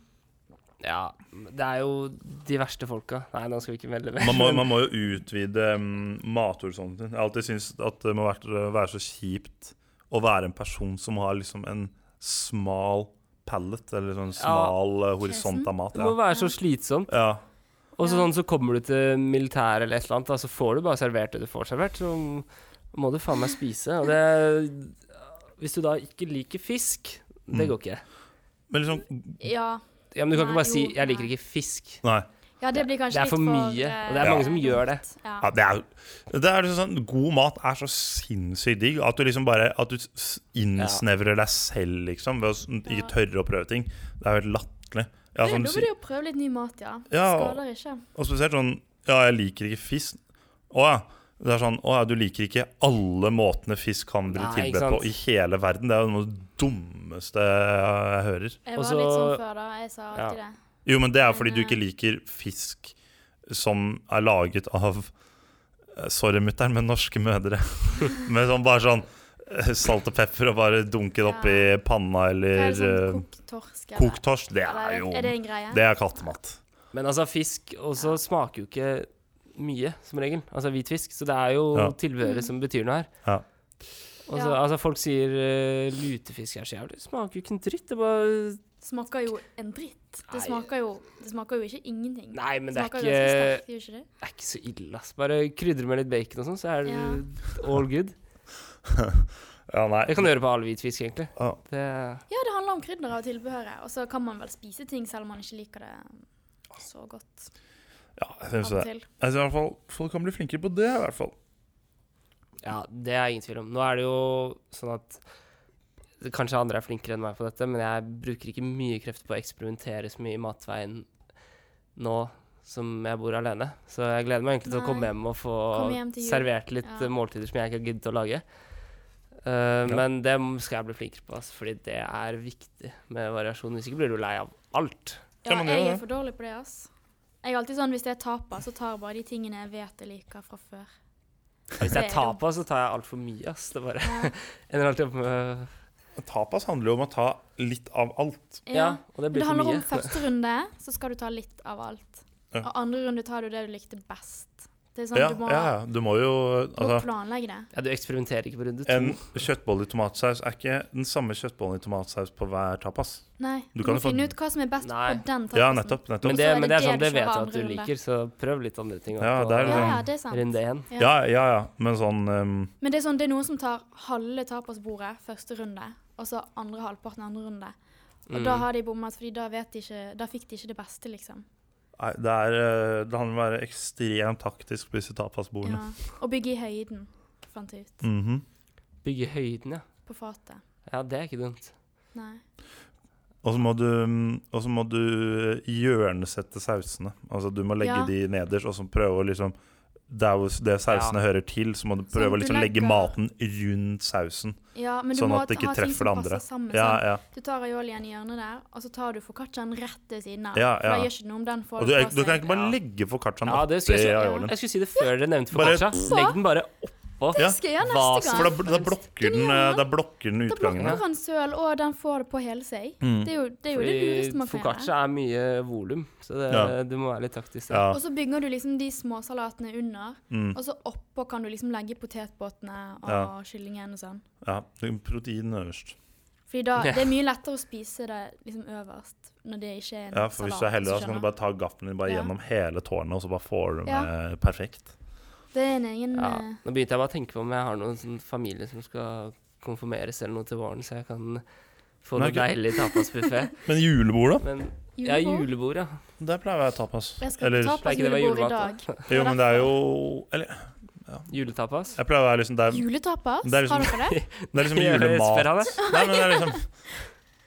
Speaker 1: Ja, det er jo de verste folka. Nei, nå skal vi ikke melde mer.
Speaker 3: Man må, man må jo utvide um, mathorisonten sin. Jeg har alltid syntes at det må være, være så kjipt å være en person som har liksom en smal pallet, eller sånn smal eh, horisont av mat.
Speaker 1: Det må
Speaker 3: Ja.
Speaker 1: være så slitsomt.
Speaker 3: ja.
Speaker 1: Og så
Speaker 2: Ja.
Speaker 1: sånn så kommer du til militæret eller et eller annet, da, så får du bare servert det du får servert. Så må du faen meg spise. Og det Hvis du da ikke liker fisk Det
Speaker 3: Mm.
Speaker 1: går ikke.
Speaker 3: Men liksom
Speaker 2: Ja.
Speaker 1: Ja, Men du kan
Speaker 2: Nei,
Speaker 1: ikke bare si
Speaker 2: jo,
Speaker 1: 'jeg liker
Speaker 2: nei.
Speaker 1: ikke fisk'.
Speaker 3: Nei.
Speaker 2: ja, det blir
Speaker 1: Det
Speaker 2: kanskje
Speaker 1: er
Speaker 2: litt
Speaker 1: for
Speaker 2: for
Speaker 1: mye,
Speaker 2: eh,
Speaker 1: og det er
Speaker 3: mange
Speaker 1: som gjør det.
Speaker 2: Ja.
Speaker 3: Ja, det er, jo- det er liksom sånn, god mat er så sinnssykt digg at du liksom bare At du s- innsnevrer deg selv, liksom, ved å s- ikke tørre å prøve ting. Det er jo helt latterlig. Ja,
Speaker 2: Ja,
Speaker 3: som
Speaker 2: da burde
Speaker 3: du sier-
Speaker 2: du jo prøve litt ny mat, ja.
Speaker 3: sånn Ja, og-
Speaker 2: Skader ikke.
Speaker 3: og spesielt sånn Ja, jeg liker ikke fisk. Å ja. Det er sånn, å ja, Du liker ikke alle måtene fisk kan bli
Speaker 1: Nei, ikke
Speaker 3: tilberedt på
Speaker 1: sant?
Speaker 3: i hele verden. Det er jo noe av det dummeste jeg hører.
Speaker 2: Jeg
Speaker 1: Og
Speaker 2: var
Speaker 1: så-
Speaker 2: litt sånn før, da. Jeg sa alltid det.
Speaker 3: Jo, men det er fordi
Speaker 2: Men,
Speaker 3: du
Speaker 2: eh,
Speaker 3: ikke liker fisk som er laget av eh, Sorry, mutter'n, men norske mødre. men sånn, bare sånn eh, salt og pepper og bare dunke det opp i panna
Speaker 2: Hva er
Speaker 3: eller
Speaker 2: det sånn
Speaker 3: eh,
Speaker 2: kokt torsk? eller-
Speaker 3: kokt torsk. Det er
Speaker 2: Eller
Speaker 3: jo
Speaker 2: er det en greie?
Speaker 3: Det er kattemat.
Speaker 1: Men altså, fisk også smaker jo ikke mye, som regel. Altså hvit fisk. Så det er jo
Speaker 3: Ja.
Speaker 1: tilbehøret som betyr noe her.
Speaker 3: Ja.
Speaker 1: Og så,
Speaker 2: Ja.
Speaker 1: altså, folk sier eh, lutefisk er så jævlig. Det Smaker jo ikke en dritt. Det bare
Speaker 2: Smaker jo en dritt. Det
Speaker 1: Nei.
Speaker 2: smaker jo, det smaker jo ikke ingenting.
Speaker 1: Nei, men det er
Speaker 2: smaker ganske
Speaker 1: ikke
Speaker 2: sterkt, gjør ikke det?
Speaker 1: det er ikke så ille, ass. Bare krydre med litt bacon og sånn, så er det
Speaker 2: Ja.
Speaker 1: all good.
Speaker 3: Ja, nei.
Speaker 1: Det kan du gjøre på all hvit fisk, egentlig.
Speaker 3: Ja.
Speaker 1: Det,
Speaker 2: Ja, det handler om krydderet og tilbehøret. Og så kan man vel spise ting selv om man ikke liker det så godt
Speaker 3: Ja, jeg
Speaker 2: av
Speaker 3: synes
Speaker 2: og
Speaker 3: det.
Speaker 2: til.
Speaker 3: Jeg synes i hvert fall Folk kan bli flinkere på det, i hvert fall.
Speaker 1: ja, det er ingen tvil om. Nå er det jo sånn at Kanskje andre er flinkere enn meg på dette, men jeg bruker ikke mye krefter på å eksperimentere så mye i matveien nå som jeg bor alene. Så jeg gleder meg egentlig til å komme
Speaker 2: Nei.
Speaker 1: hjem og få
Speaker 2: Kom hjem til jul.
Speaker 1: servert litt
Speaker 2: Ja.
Speaker 1: eh, måltider som jeg ikke har giddet å lage. Eh, Men det skal jeg bli flinkere på, ass, fordi det er viktig med variasjon. Hvis ikke blir du lei av alt.
Speaker 3: Ja,
Speaker 2: Ja,
Speaker 3: men det er
Speaker 2: jeg er
Speaker 3: det.
Speaker 2: for dårlig på det, ass. Jeg er alltid sånn, Hvis jeg taper, så tar jeg bare de tingene jeg vet jeg liker fra før.
Speaker 1: Hvis
Speaker 2: Det
Speaker 1: jeg
Speaker 2: er
Speaker 1: tar
Speaker 2: dumt.
Speaker 1: på, så tar jeg altfor mye, ass. Det bare
Speaker 2: Ja.
Speaker 1: ender alltid opp med
Speaker 3: Tapas handler jo om å ta litt av alt.
Speaker 1: Ja, og det
Speaker 2: Men
Speaker 1: blir
Speaker 2: det
Speaker 1: for
Speaker 2: handler
Speaker 1: mye.
Speaker 2: om første runde, så skal du ta litt av alt.
Speaker 3: Ja.
Speaker 2: Og andre runde tar du det du likte best. Det er sånn,
Speaker 3: ja,
Speaker 2: Du må,
Speaker 3: ja, ja. Du må jo
Speaker 2: du må
Speaker 3: altså,
Speaker 2: planlegge det.
Speaker 1: Ja, du eksperimenterer ikke på runde to.
Speaker 3: En kjøttbolle i tomatsaus er ikke den samme kjøttbollen i tomatsaus på hver tapas.
Speaker 2: Nei,
Speaker 3: Du
Speaker 2: du,
Speaker 3: kan
Speaker 2: må
Speaker 3: jo få-
Speaker 2: finne ut hva som er best
Speaker 1: Nei.
Speaker 2: på den tapasen.
Speaker 3: Ja, nettopp.
Speaker 1: Men
Speaker 3: nettopp.
Speaker 2: Og
Speaker 1: det,
Speaker 2: så er det
Speaker 1: men det er
Speaker 2: det
Speaker 1: sånn,
Speaker 2: du
Speaker 1: det
Speaker 2: skal
Speaker 1: vet
Speaker 2: ha
Speaker 1: du at
Speaker 2: andre
Speaker 1: du
Speaker 2: runde.
Speaker 1: liker, så prøv litt andre ting. også
Speaker 3: Ja,
Speaker 1: på
Speaker 3: det er
Speaker 2: Ja, ja, det er sant.
Speaker 1: Runde én.
Speaker 2: Ja.
Speaker 3: Ja, ja, ja. Men sånn ehm,
Speaker 2: Men det er sånn, det er noen som tar halve tapasbordet første runde, og så andre halvparten andre runde. Og
Speaker 3: Mm.
Speaker 2: da har de bommet, fordi da, vet de ikke, da fikk de ikke det beste, liksom.
Speaker 3: Nei, det, er, eh, det handler om å være ekstremt taktisk på disse tapasbordene.
Speaker 2: Ja. Og bygge i høyden, fant jeg ut.
Speaker 3: Mhm.
Speaker 1: Bygge høyden, ja.
Speaker 2: På fatet.
Speaker 1: Ja, det er ikke dumt.
Speaker 2: Nei.
Speaker 3: Og så må du, mm, og så må du eh, hjørnesette sausene. Altså Du må legge
Speaker 2: Ja.
Speaker 3: de nederst, og så prøve å liksom Der hvor s- det sausene hører til, så må du prøve å
Speaker 2: Sånn du
Speaker 3: liksom legge
Speaker 2: legger-
Speaker 3: maten rundt sausen.
Speaker 2: Ja, men du
Speaker 3: Sånn
Speaker 2: må
Speaker 3: at det ikke
Speaker 2: ha ting
Speaker 3: treffer
Speaker 2: som
Speaker 3: det andre.
Speaker 2: passer sammen.
Speaker 3: Ja,
Speaker 2: sånn.
Speaker 3: ja.
Speaker 2: Du tar aiolien i hjørnet der, og så tar du foccacciaen rett ved siden av.
Speaker 3: Ja,
Speaker 2: For
Speaker 3: ja.
Speaker 2: da gjør ikke noe om den får
Speaker 3: Og du,
Speaker 2: det
Speaker 3: du kan
Speaker 2: seg.
Speaker 3: egentlig bare
Speaker 1: Ja.
Speaker 3: legge foccacciaen
Speaker 1: Ja, det
Speaker 3: oppi
Speaker 1: skulle jeg si.
Speaker 3: aiolien.
Speaker 1: Jeg skulle si det før dere nevnte
Speaker 3: Bare-
Speaker 1: foccaccia. Legg den bare oppå.
Speaker 3: Ja.
Speaker 2: Det skal jeg gjøre
Speaker 1: Hva
Speaker 2: neste
Speaker 1: som-
Speaker 2: gang.
Speaker 3: For da, bl- da blokker den, eh, da blokker den
Speaker 2: Da
Speaker 3: utgangene. Mm.
Speaker 2: blokker han søl, og den får det på hele seg. Det er jo det, er jo det lureste
Speaker 1: Fordi
Speaker 2: man kan gjøre.
Speaker 1: foccaccia er mye volum, så det,
Speaker 3: Ja.
Speaker 1: du må være litt taktisk. der.
Speaker 3: Ja.
Speaker 2: Og så bygger du liksom de småsalatene under,
Speaker 3: Mm.
Speaker 2: og så oppå kan du liksom legge potetbåtene og
Speaker 3: Ja.
Speaker 2: kyllingen og sånn.
Speaker 3: ja. Protein øverst.
Speaker 2: Fordi da det er mye lettere å spise det liksom øverst, når det ikke er en
Speaker 3: Ja, for Hvis du er heldig, da, så kan du
Speaker 2: skjønner.
Speaker 3: bare ta gaffelen din bare
Speaker 2: Ja.
Speaker 3: gjennom hele tårnet, og så bare får du
Speaker 2: Ja.
Speaker 3: med perfekt.
Speaker 2: Det er en egen
Speaker 1: Ja.
Speaker 2: eh,
Speaker 1: Nå begynte jeg bare å tenke på om jeg har noen sånn familie som skal konfirmeres eller noe til våren, så jeg kan Få
Speaker 3: Nei,
Speaker 1: noe deilig tapasbuffé.
Speaker 3: Men julebord, da?
Speaker 1: Men ja, julebord, ja.
Speaker 3: Der pleier jeg å være tapas.
Speaker 2: Jeg skal
Speaker 3: Eller-
Speaker 2: ta
Speaker 1: Er
Speaker 2: på
Speaker 1: ikke det hva
Speaker 2: julebord i
Speaker 1: julemat
Speaker 2: dag.
Speaker 3: Jo, men det er jo Eller
Speaker 1: Juletapas.
Speaker 3: jeg pleier å være liksom Det er,
Speaker 2: Juletapas?
Speaker 3: Det er liksom-
Speaker 2: Har dere det?
Speaker 3: det er liksom
Speaker 1: Jeg spør han
Speaker 3: julemat.
Speaker 1: det.
Speaker 3: Nei, men det er liksom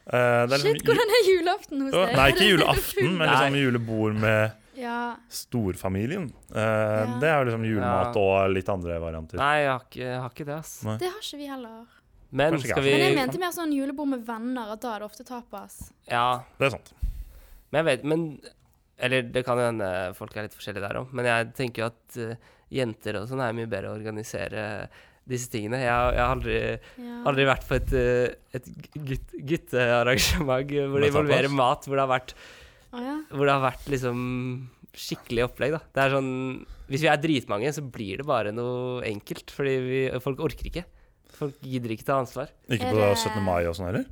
Speaker 3: eh, det er liksom
Speaker 2: Shit, hvordan er julaften hos
Speaker 3: jo,
Speaker 2: dere?
Speaker 3: Nei, ikke julaften, men liksom
Speaker 1: Nei.
Speaker 3: julebord med
Speaker 2: Ja.
Speaker 3: storfamilien. Eh,
Speaker 2: Ja.
Speaker 3: Det er jo liksom julemat
Speaker 1: Ja.
Speaker 3: og litt andre varianter.
Speaker 1: Nei, jeg har ikke, jeg har ikke det, ass.
Speaker 3: Nei.
Speaker 2: Det har ikke vi heller.
Speaker 1: Men
Speaker 3: Kanskje
Speaker 1: skal
Speaker 3: ikke.
Speaker 1: vi
Speaker 2: Men jeg mente mer sånn julebord med venner, at da er det ofte tapas.
Speaker 1: Ja,
Speaker 3: Det er sant.
Speaker 1: men jeg vet Men Eller det kan jo hende folk er litt forskjellige der òg, men jeg tenker jo at eh, jenter og sånn er mye bedre å organisere eh, disse tingene. Jeg, har- jeg har aldri,
Speaker 2: Ja.
Speaker 1: aldri vært på et, eh, et gutt, guttearrangement eh, hvor
Speaker 3: Med
Speaker 1: det involverer
Speaker 3: tapas?
Speaker 1: mat, hvor det har vært
Speaker 2: Å, ja.
Speaker 1: hvor det har vært liksom skikkelig opplegg, da. Det er sånn Hvis vi er dritmange, så blir det bare noe enkelt, fordi vi, folk orker ikke. Folk gidder ikke ta ansvar.
Speaker 3: Ikke
Speaker 2: Er
Speaker 3: på
Speaker 2: det-
Speaker 3: 17. mai og sånn heller?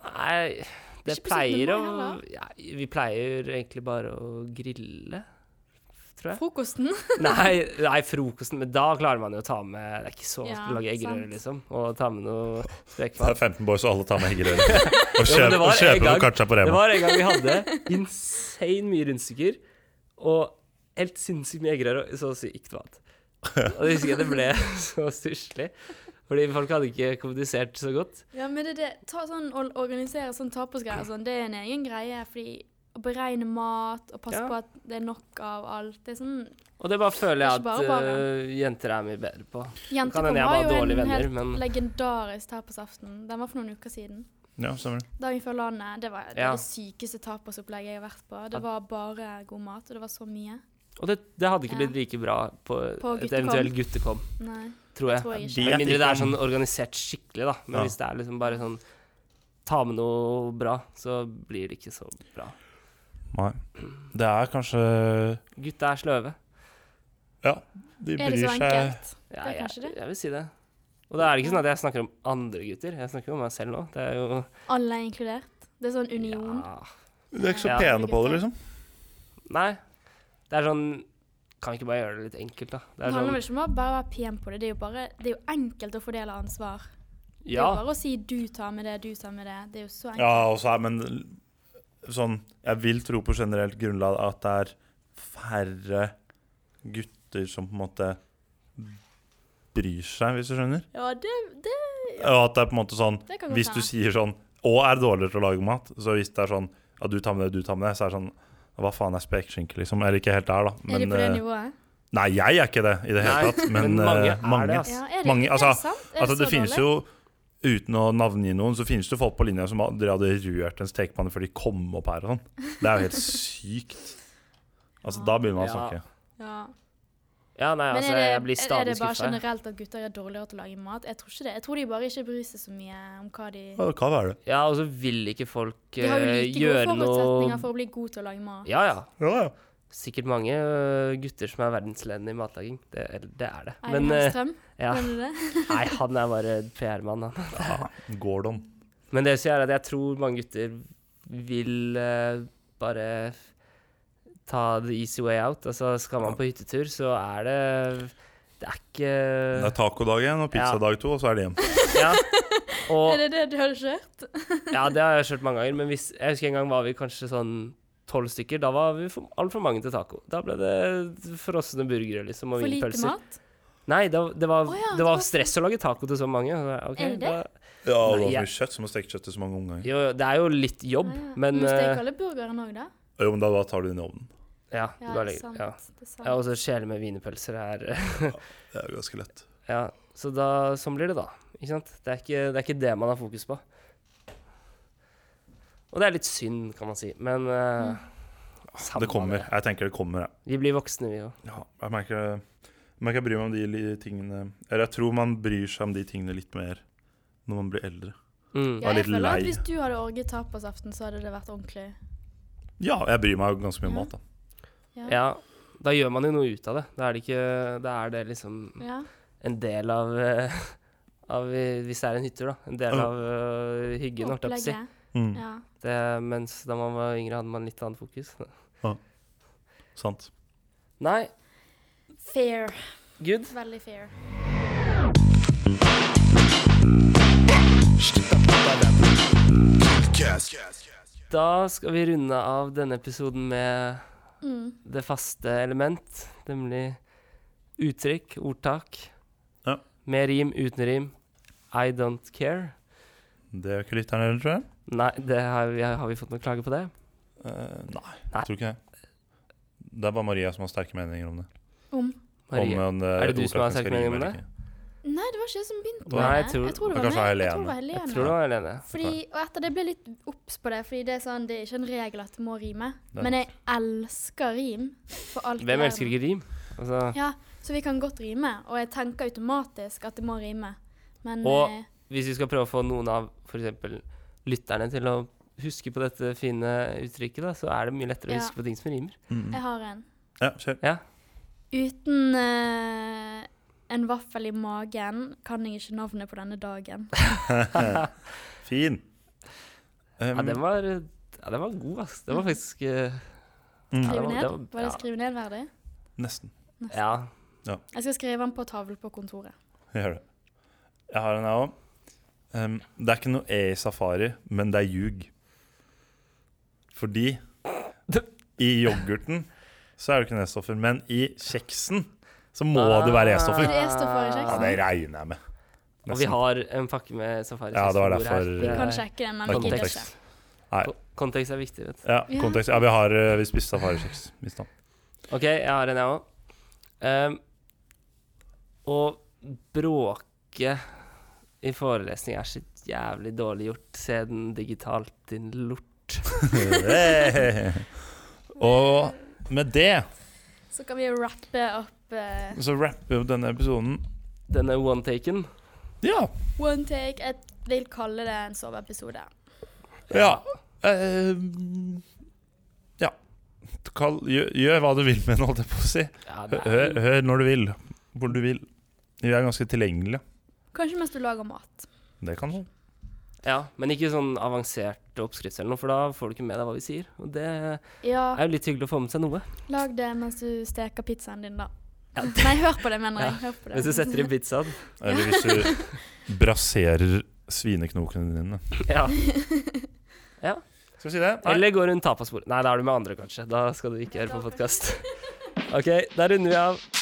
Speaker 1: Nei, det
Speaker 2: Ikke på
Speaker 1: pleier å
Speaker 2: 17. mai heller.
Speaker 1: ja, Vi pleier egentlig bare å grille, tror jeg.
Speaker 2: Frokosten.
Speaker 1: Nei, nei, frokosten Men da klarer man jo å ta med Det er ikke så vanskelig å
Speaker 2: Ja,
Speaker 1: lage eggerøre,
Speaker 2: sant.
Speaker 1: liksom. Og ta med noe
Speaker 3: Det er
Speaker 1: spekefat.
Speaker 3: 15 boys, og alle tar med eggerøre.
Speaker 1: Jo,
Speaker 3: Og
Speaker 1: men
Speaker 3: kjøper
Speaker 1: det var
Speaker 3: og kjøper
Speaker 1: en
Speaker 3: noe
Speaker 1: gang-
Speaker 3: kanskje på
Speaker 1: Det
Speaker 3: Rema.
Speaker 1: var en gang vi hadde insane mye rundstykker og helt sinnssykt mye eggerøre og så sykt mat. Og det husker jeg det ble så stusslig, fordi folk hadde ikke kommunisert så godt.
Speaker 2: Ja, men det, er det, ta sånn, å organisere sånn tapasgreier og sånn, det er en egen greie. Fordi å beregne mat og passe
Speaker 1: Ja.
Speaker 2: på at det er nok av alt Det er sånn
Speaker 1: Og det bare føler jeg
Speaker 2: Det er ikke bare
Speaker 1: at
Speaker 2: bare.
Speaker 1: øh, jenter er mye bedre på. Det kan
Speaker 2: Jentekom
Speaker 1: hende jeg
Speaker 2: har
Speaker 1: var
Speaker 2: jo en
Speaker 1: dårlig venner,
Speaker 2: helt
Speaker 1: men
Speaker 2: legendarisk tapasaften. Den var for noen uker siden.
Speaker 3: Ja, stemmer det.
Speaker 2: Dagen før landet. Det var det,
Speaker 1: Ja.
Speaker 2: var det sykeste tapasopplegget jeg har vært på. Det var bare god mat, og det var så mye.
Speaker 1: Og det, det hadde ikke
Speaker 2: Ja.
Speaker 1: blitt like bra på,
Speaker 2: På
Speaker 1: et
Speaker 2: guttekom.
Speaker 1: eventuelt guttekom,
Speaker 2: Nei.
Speaker 1: tror jeg.
Speaker 2: Tror jeg
Speaker 1: Med
Speaker 3: ikke.
Speaker 1: mindre det er sånn organisert skikkelig, da. Men
Speaker 3: Ja.
Speaker 1: hvis det er liksom bare sånn ta med noe bra, så blir det ikke så bra.
Speaker 3: Nei. Det er kanskje
Speaker 1: Gutta er sløve.
Speaker 3: Ja, de
Speaker 2: Er det
Speaker 3: bryr
Speaker 2: så
Speaker 3: seg
Speaker 2: enkelt?
Speaker 1: Ja,
Speaker 2: Det er
Speaker 1: jeg,
Speaker 2: kanskje det.
Speaker 1: jeg vil si det. Og da er det ikke sånn at jeg snakker om andre gutter, jeg snakker jo om meg selv nå. Det er jo
Speaker 2: Alle er inkludert. Det er sånn union.
Speaker 1: ja.
Speaker 3: De er ikke så
Speaker 1: Ja.
Speaker 3: pene på det, liksom.
Speaker 1: Nei. Det er sånn Kan vi ikke bare gjøre det litt enkelt, da? Det
Speaker 2: Det
Speaker 1: er
Speaker 2: handler
Speaker 1: sånn
Speaker 2: vel ikke om å bare være pen på det, det er jo, bare, det er jo enkelt å fordele ansvar. Det er
Speaker 1: Ja.
Speaker 2: jo bare å si 'du tar med det, du tar med det'. Det er jo så enkelt.
Speaker 3: Ja, og så er, men sånn Jeg vil tro på generelt grunnlag at det er færre gutter som på en måte bryr seg, hvis du skjønner.
Speaker 2: Ja, det, det,
Speaker 3: Og at det er på en måte sånn
Speaker 2: det kan godt
Speaker 3: Hvis du
Speaker 2: hende.
Speaker 3: sier sånn Å, er det dårligere til å lage mat? Så hvis det er sånn Ja, du tar med det, du tar med det, så er det sånn Hva faen er spekeskinke, liksom? Eller ikke helt der, da.
Speaker 2: er de på det
Speaker 3: eh,
Speaker 2: nivået?
Speaker 3: Nei, jeg er ikke det i det hele
Speaker 1: Nei,
Speaker 3: tatt. Men,
Speaker 1: men mange
Speaker 3: eh,
Speaker 1: er det,
Speaker 3: mange.
Speaker 1: ass.
Speaker 2: Ja, er det,
Speaker 3: mange- altså,
Speaker 2: er det sant? Er
Speaker 3: Altså, det
Speaker 2: så
Speaker 3: finnes
Speaker 2: dårlig?
Speaker 3: jo Uten å navngi noen, så finnes det folk på linja som aldri hadde rørt en stekepanne før de kom opp her og sånn. Det er jo helt sykt. Altså, da begynner man å
Speaker 1: Ja.
Speaker 3: snakke.
Speaker 2: ja.
Speaker 1: ja, nei,
Speaker 2: Men
Speaker 1: altså,
Speaker 2: er det,
Speaker 1: jeg blir
Speaker 2: er
Speaker 1: stadig
Speaker 2: det bare
Speaker 1: skuffa.
Speaker 2: generelt at gutter er dårligere til å lage mat? Jeg tror ikke det. Jeg tror de bare ikke bryr seg så mye om hva de
Speaker 3: Ja, hva er det?
Speaker 1: Ja, og så vil ikke folk
Speaker 2: De har jo
Speaker 1: eh,
Speaker 2: like gode
Speaker 1: gjøre
Speaker 2: forutsetninger
Speaker 1: noe
Speaker 2: for å bli god til å lage mat.
Speaker 1: Ja, ja.
Speaker 3: Ja, ja.
Speaker 1: Sikkert mange ø, gutter som er verdensledende i matlaging. Det, eller det er det. Men
Speaker 2: Eivind
Speaker 1: ø,
Speaker 2: Hellstrøm,
Speaker 1: ja,
Speaker 2: mener du det?
Speaker 1: nei, han er bare PR-mann, han.
Speaker 3: Gordon.
Speaker 1: Men det som gjør at jeg tror mange gutter vil ø, bare ta the easy way out. Altså, skal man på hyttetur, så er det Det er ikke
Speaker 3: Det er tacodag én
Speaker 1: Ja.
Speaker 3: og pizzadag to, og så er det hjem.
Speaker 1: ja. Og
Speaker 2: Er det det du hadde kjørt?
Speaker 1: Ja, det har jeg kjørt mange ganger, men hvis, jeg husker en gang var vi kanskje sånn tolv stykker. Da var vi for- altfor mange til taco. Da ble det frosne burgere liksom, og
Speaker 2: For lite
Speaker 1: vinpølser.
Speaker 2: mat?
Speaker 1: Nei, da, det, var,
Speaker 2: Å ja,
Speaker 1: det var
Speaker 2: det var-
Speaker 1: stress å lage taco til så mange. Og da- ok,
Speaker 2: Er det det?
Speaker 1: da-
Speaker 3: Ja,
Speaker 1: Nei,
Speaker 3: og det var så
Speaker 1: jeg-
Speaker 3: mye kjøtt, så må steke kjøtt til så mange omganger.
Speaker 1: jo, det er jo litt jobb,
Speaker 2: Ja, ja.
Speaker 1: men
Speaker 2: Men
Speaker 1: eh,
Speaker 2: steker alle burgeren òg, da?
Speaker 3: Jo, men da, da tar du det inn i ovnen.
Speaker 1: Ja, du bare
Speaker 2: Ja, det er
Speaker 1: legger
Speaker 2: sant.
Speaker 1: ja.
Speaker 2: Det er sant.
Speaker 1: ja, Og så kjele med wienerpølser er
Speaker 3: Det er jo ganske lett.
Speaker 1: Ja, så da Sånn blir det, da. Ikke sant? Det er ikke, det er ikke det man har fokus på. Og det er litt synd, kan man si, men eh, samme
Speaker 3: Det kommer. Jeg tenker det kommer, jeg.
Speaker 1: Vi blir voksne, vi òg.
Speaker 3: Ja, jeg merker jeg merker jeg bryr meg om de li- tingene Eller jeg tror man bryr seg om de tingene litt mer når man blir eldre.
Speaker 1: Mm.
Speaker 2: Ja,
Speaker 3: var
Speaker 2: jeg
Speaker 3: litt
Speaker 2: føler at
Speaker 3: lei.
Speaker 2: hvis du hadde orget tapasaften, så hadde det vært ordentlig.
Speaker 3: Ja, jeg bryr meg ganske mye om
Speaker 2: Ja.
Speaker 3: mat, da.
Speaker 1: Ja, da gjør man jo noe ut av det. Da er det, ikke, da er det liksom
Speaker 2: Ja.
Speaker 1: en del av, eh, av eh, Hvis det er en hyttetur, da. En del
Speaker 3: Ja.
Speaker 1: av eh, hyggen, holdt jeg på å si.
Speaker 2: Opplegget.
Speaker 3: Mm,
Speaker 2: Ja.
Speaker 1: Det- Mens da man var yngre, hadde man litt annet fokus.
Speaker 3: Sant.
Speaker 1: Nei,
Speaker 2: Fair.
Speaker 1: good.
Speaker 2: Veldig fair.
Speaker 1: Da skal vi runde av denne episoden med
Speaker 2: Mm.
Speaker 1: det faste element, nemlig uttrykk, ordtak.
Speaker 3: Ja.
Speaker 1: Med rim, uten rim. I don't care.
Speaker 3: Det gjør ikke lytterne heller, tror jeg.
Speaker 1: Nei, det har, vi, har vi fått noen klager på det?
Speaker 3: Eh, nei,
Speaker 1: Nei.
Speaker 3: jeg tror ikke det. Det er bare Maria som har sterke meninger om det.
Speaker 2: Om.
Speaker 1: Marie?
Speaker 3: Om en, eh,
Speaker 1: Er det du som har sterke
Speaker 3: ordtaket skal rime
Speaker 1: meninger om
Speaker 3: eller
Speaker 1: det?
Speaker 3: ikke.
Speaker 2: Nei, det var ikke jeg som begynte med
Speaker 1: Nei, jeg
Speaker 2: det.
Speaker 1: tror-
Speaker 2: Jeg tror det
Speaker 3: Det
Speaker 2: var
Speaker 3: kanskje
Speaker 2: meg.
Speaker 3: Helene.
Speaker 2: Jeg tror det var
Speaker 1: Jeg
Speaker 2: Helene.
Speaker 1: tror det var Helene.
Speaker 2: Fordi, og etter det ble jeg litt obs på det, fordi det er sånn, det er ikke en regel at det må rime.
Speaker 3: Det er
Speaker 2: Men jeg elsker rim. For alt i
Speaker 1: Hvem
Speaker 2: verden.
Speaker 1: elsker ikke rim? Altså,
Speaker 2: Ja, så vi kan godt rime, og jeg tenker automatisk at det må rime. Men
Speaker 1: Og-
Speaker 2: eh,
Speaker 1: hvis vi skal prøve å få noen av f.eks. lytterne til å huske på dette fine uttrykket, da, så er det mye lettere
Speaker 2: Ja.
Speaker 1: å huske på ting som rimer.
Speaker 3: Mm.
Speaker 2: jeg har en.
Speaker 3: Ja, kjør.
Speaker 1: Ja.
Speaker 2: Uten eh, en vaffel i magen kan jeg ikke navnet på denne dagen.
Speaker 3: Fin. Um,
Speaker 1: Ja, den var, ja, den var god, ass. Den var faktisk eh,
Speaker 3: mm,
Speaker 1: det
Speaker 2: Skrive
Speaker 1: var-
Speaker 2: ned?
Speaker 1: det var-
Speaker 2: Var det
Speaker 1: ja.
Speaker 2: skrive ned-verdig?
Speaker 3: nesten.
Speaker 1: Ja.
Speaker 2: Jeg skal skrive den på tavlen på kontoret.
Speaker 3: Jeg gjør det. Jeg har en, jeg òg. Um, det er ikke noe E i safari, men det er ljug. Fordi i yoghurten så er det ikke noe E-stoffer, men i kjeksen så må det være
Speaker 2: Er
Speaker 3: E-stoffer.
Speaker 2: det E-stoffer i
Speaker 3: Ja,
Speaker 2: kjeksen?
Speaker 3: det regner jeg med.
Speaker 1: Ah. Og vi
Speaker 3: Nesten.
Speaker 1: har en pakke med safari.
Speaker 3: Ja, det
Speaker 1: som bor
Speaker 3: var
Speaker 1: her.
Speaker 3: derfor- eh,
Speaker 1: Det
Speaker 2: Vi
Speaker 1: er-
Speaker 2: kan sjekke den, men
Speaker 3: Det er
Speaker 2: vi gidder ikke.
Speaker 3: kontekst. Nei.
Speaker 1: Ko- Kontekst er viktig, vet du.
Speaker 3: Ja, kontekst. Ja, vi har eh, Vi spiste safarikjeks i stad.
Speaker 1: OK, jeg har en, jeg òg. Um, å bråke i forelesning er så jævlig dårlig gjort. Se den digitalt, din lort.
Speaker 3: Og med det
Speaker 2: Så kan vi rappe opp eh,
Speaker 3: så rapper vi opp denne episoden.
Speaker 1: Denne one-taken.
Speaker 3: Ja.
Speaker 2: One take. Jeg vil kalle det en soveepisode.
Speaker 3: Ja. Eh, ja. Kall, gjør, gjør hva du vil med den, holdt jeg på å si.
Speaker 1: Ja, det er-
Speaker 3: Hør, hør når du vil. Hvor du vil. Vi er ganske tilgjengelige.
Speaker 2: Kanskje mens du lager mat.
Speaker 3: Det kan du.
Speaker 1: ja, men ikke sånn avansert oppskrift eller noe, for da får du ikke med deg hva vi sier. Og det er
Speaker 2: Ja,
Speaker 1: jo litt hyggelig å få med seg noe.
Speaker 2: lag det mens du steker pizzaen din, da. Nei, hør på det, mener jeg. Hør på det.
Speaker 1: Hvis du setter i pizzaen.
Speaker 3: Eller hvis du braserer svineknokene dine.
Speaker 1: Ja.
Speaker 3: Skal vi si det? Nei.
Speaker 1: Eller går rundt tapasbordet. Nei, da er du med andre, kanskje. Da skal du ikke høre på podkast. OK, da runder vi av.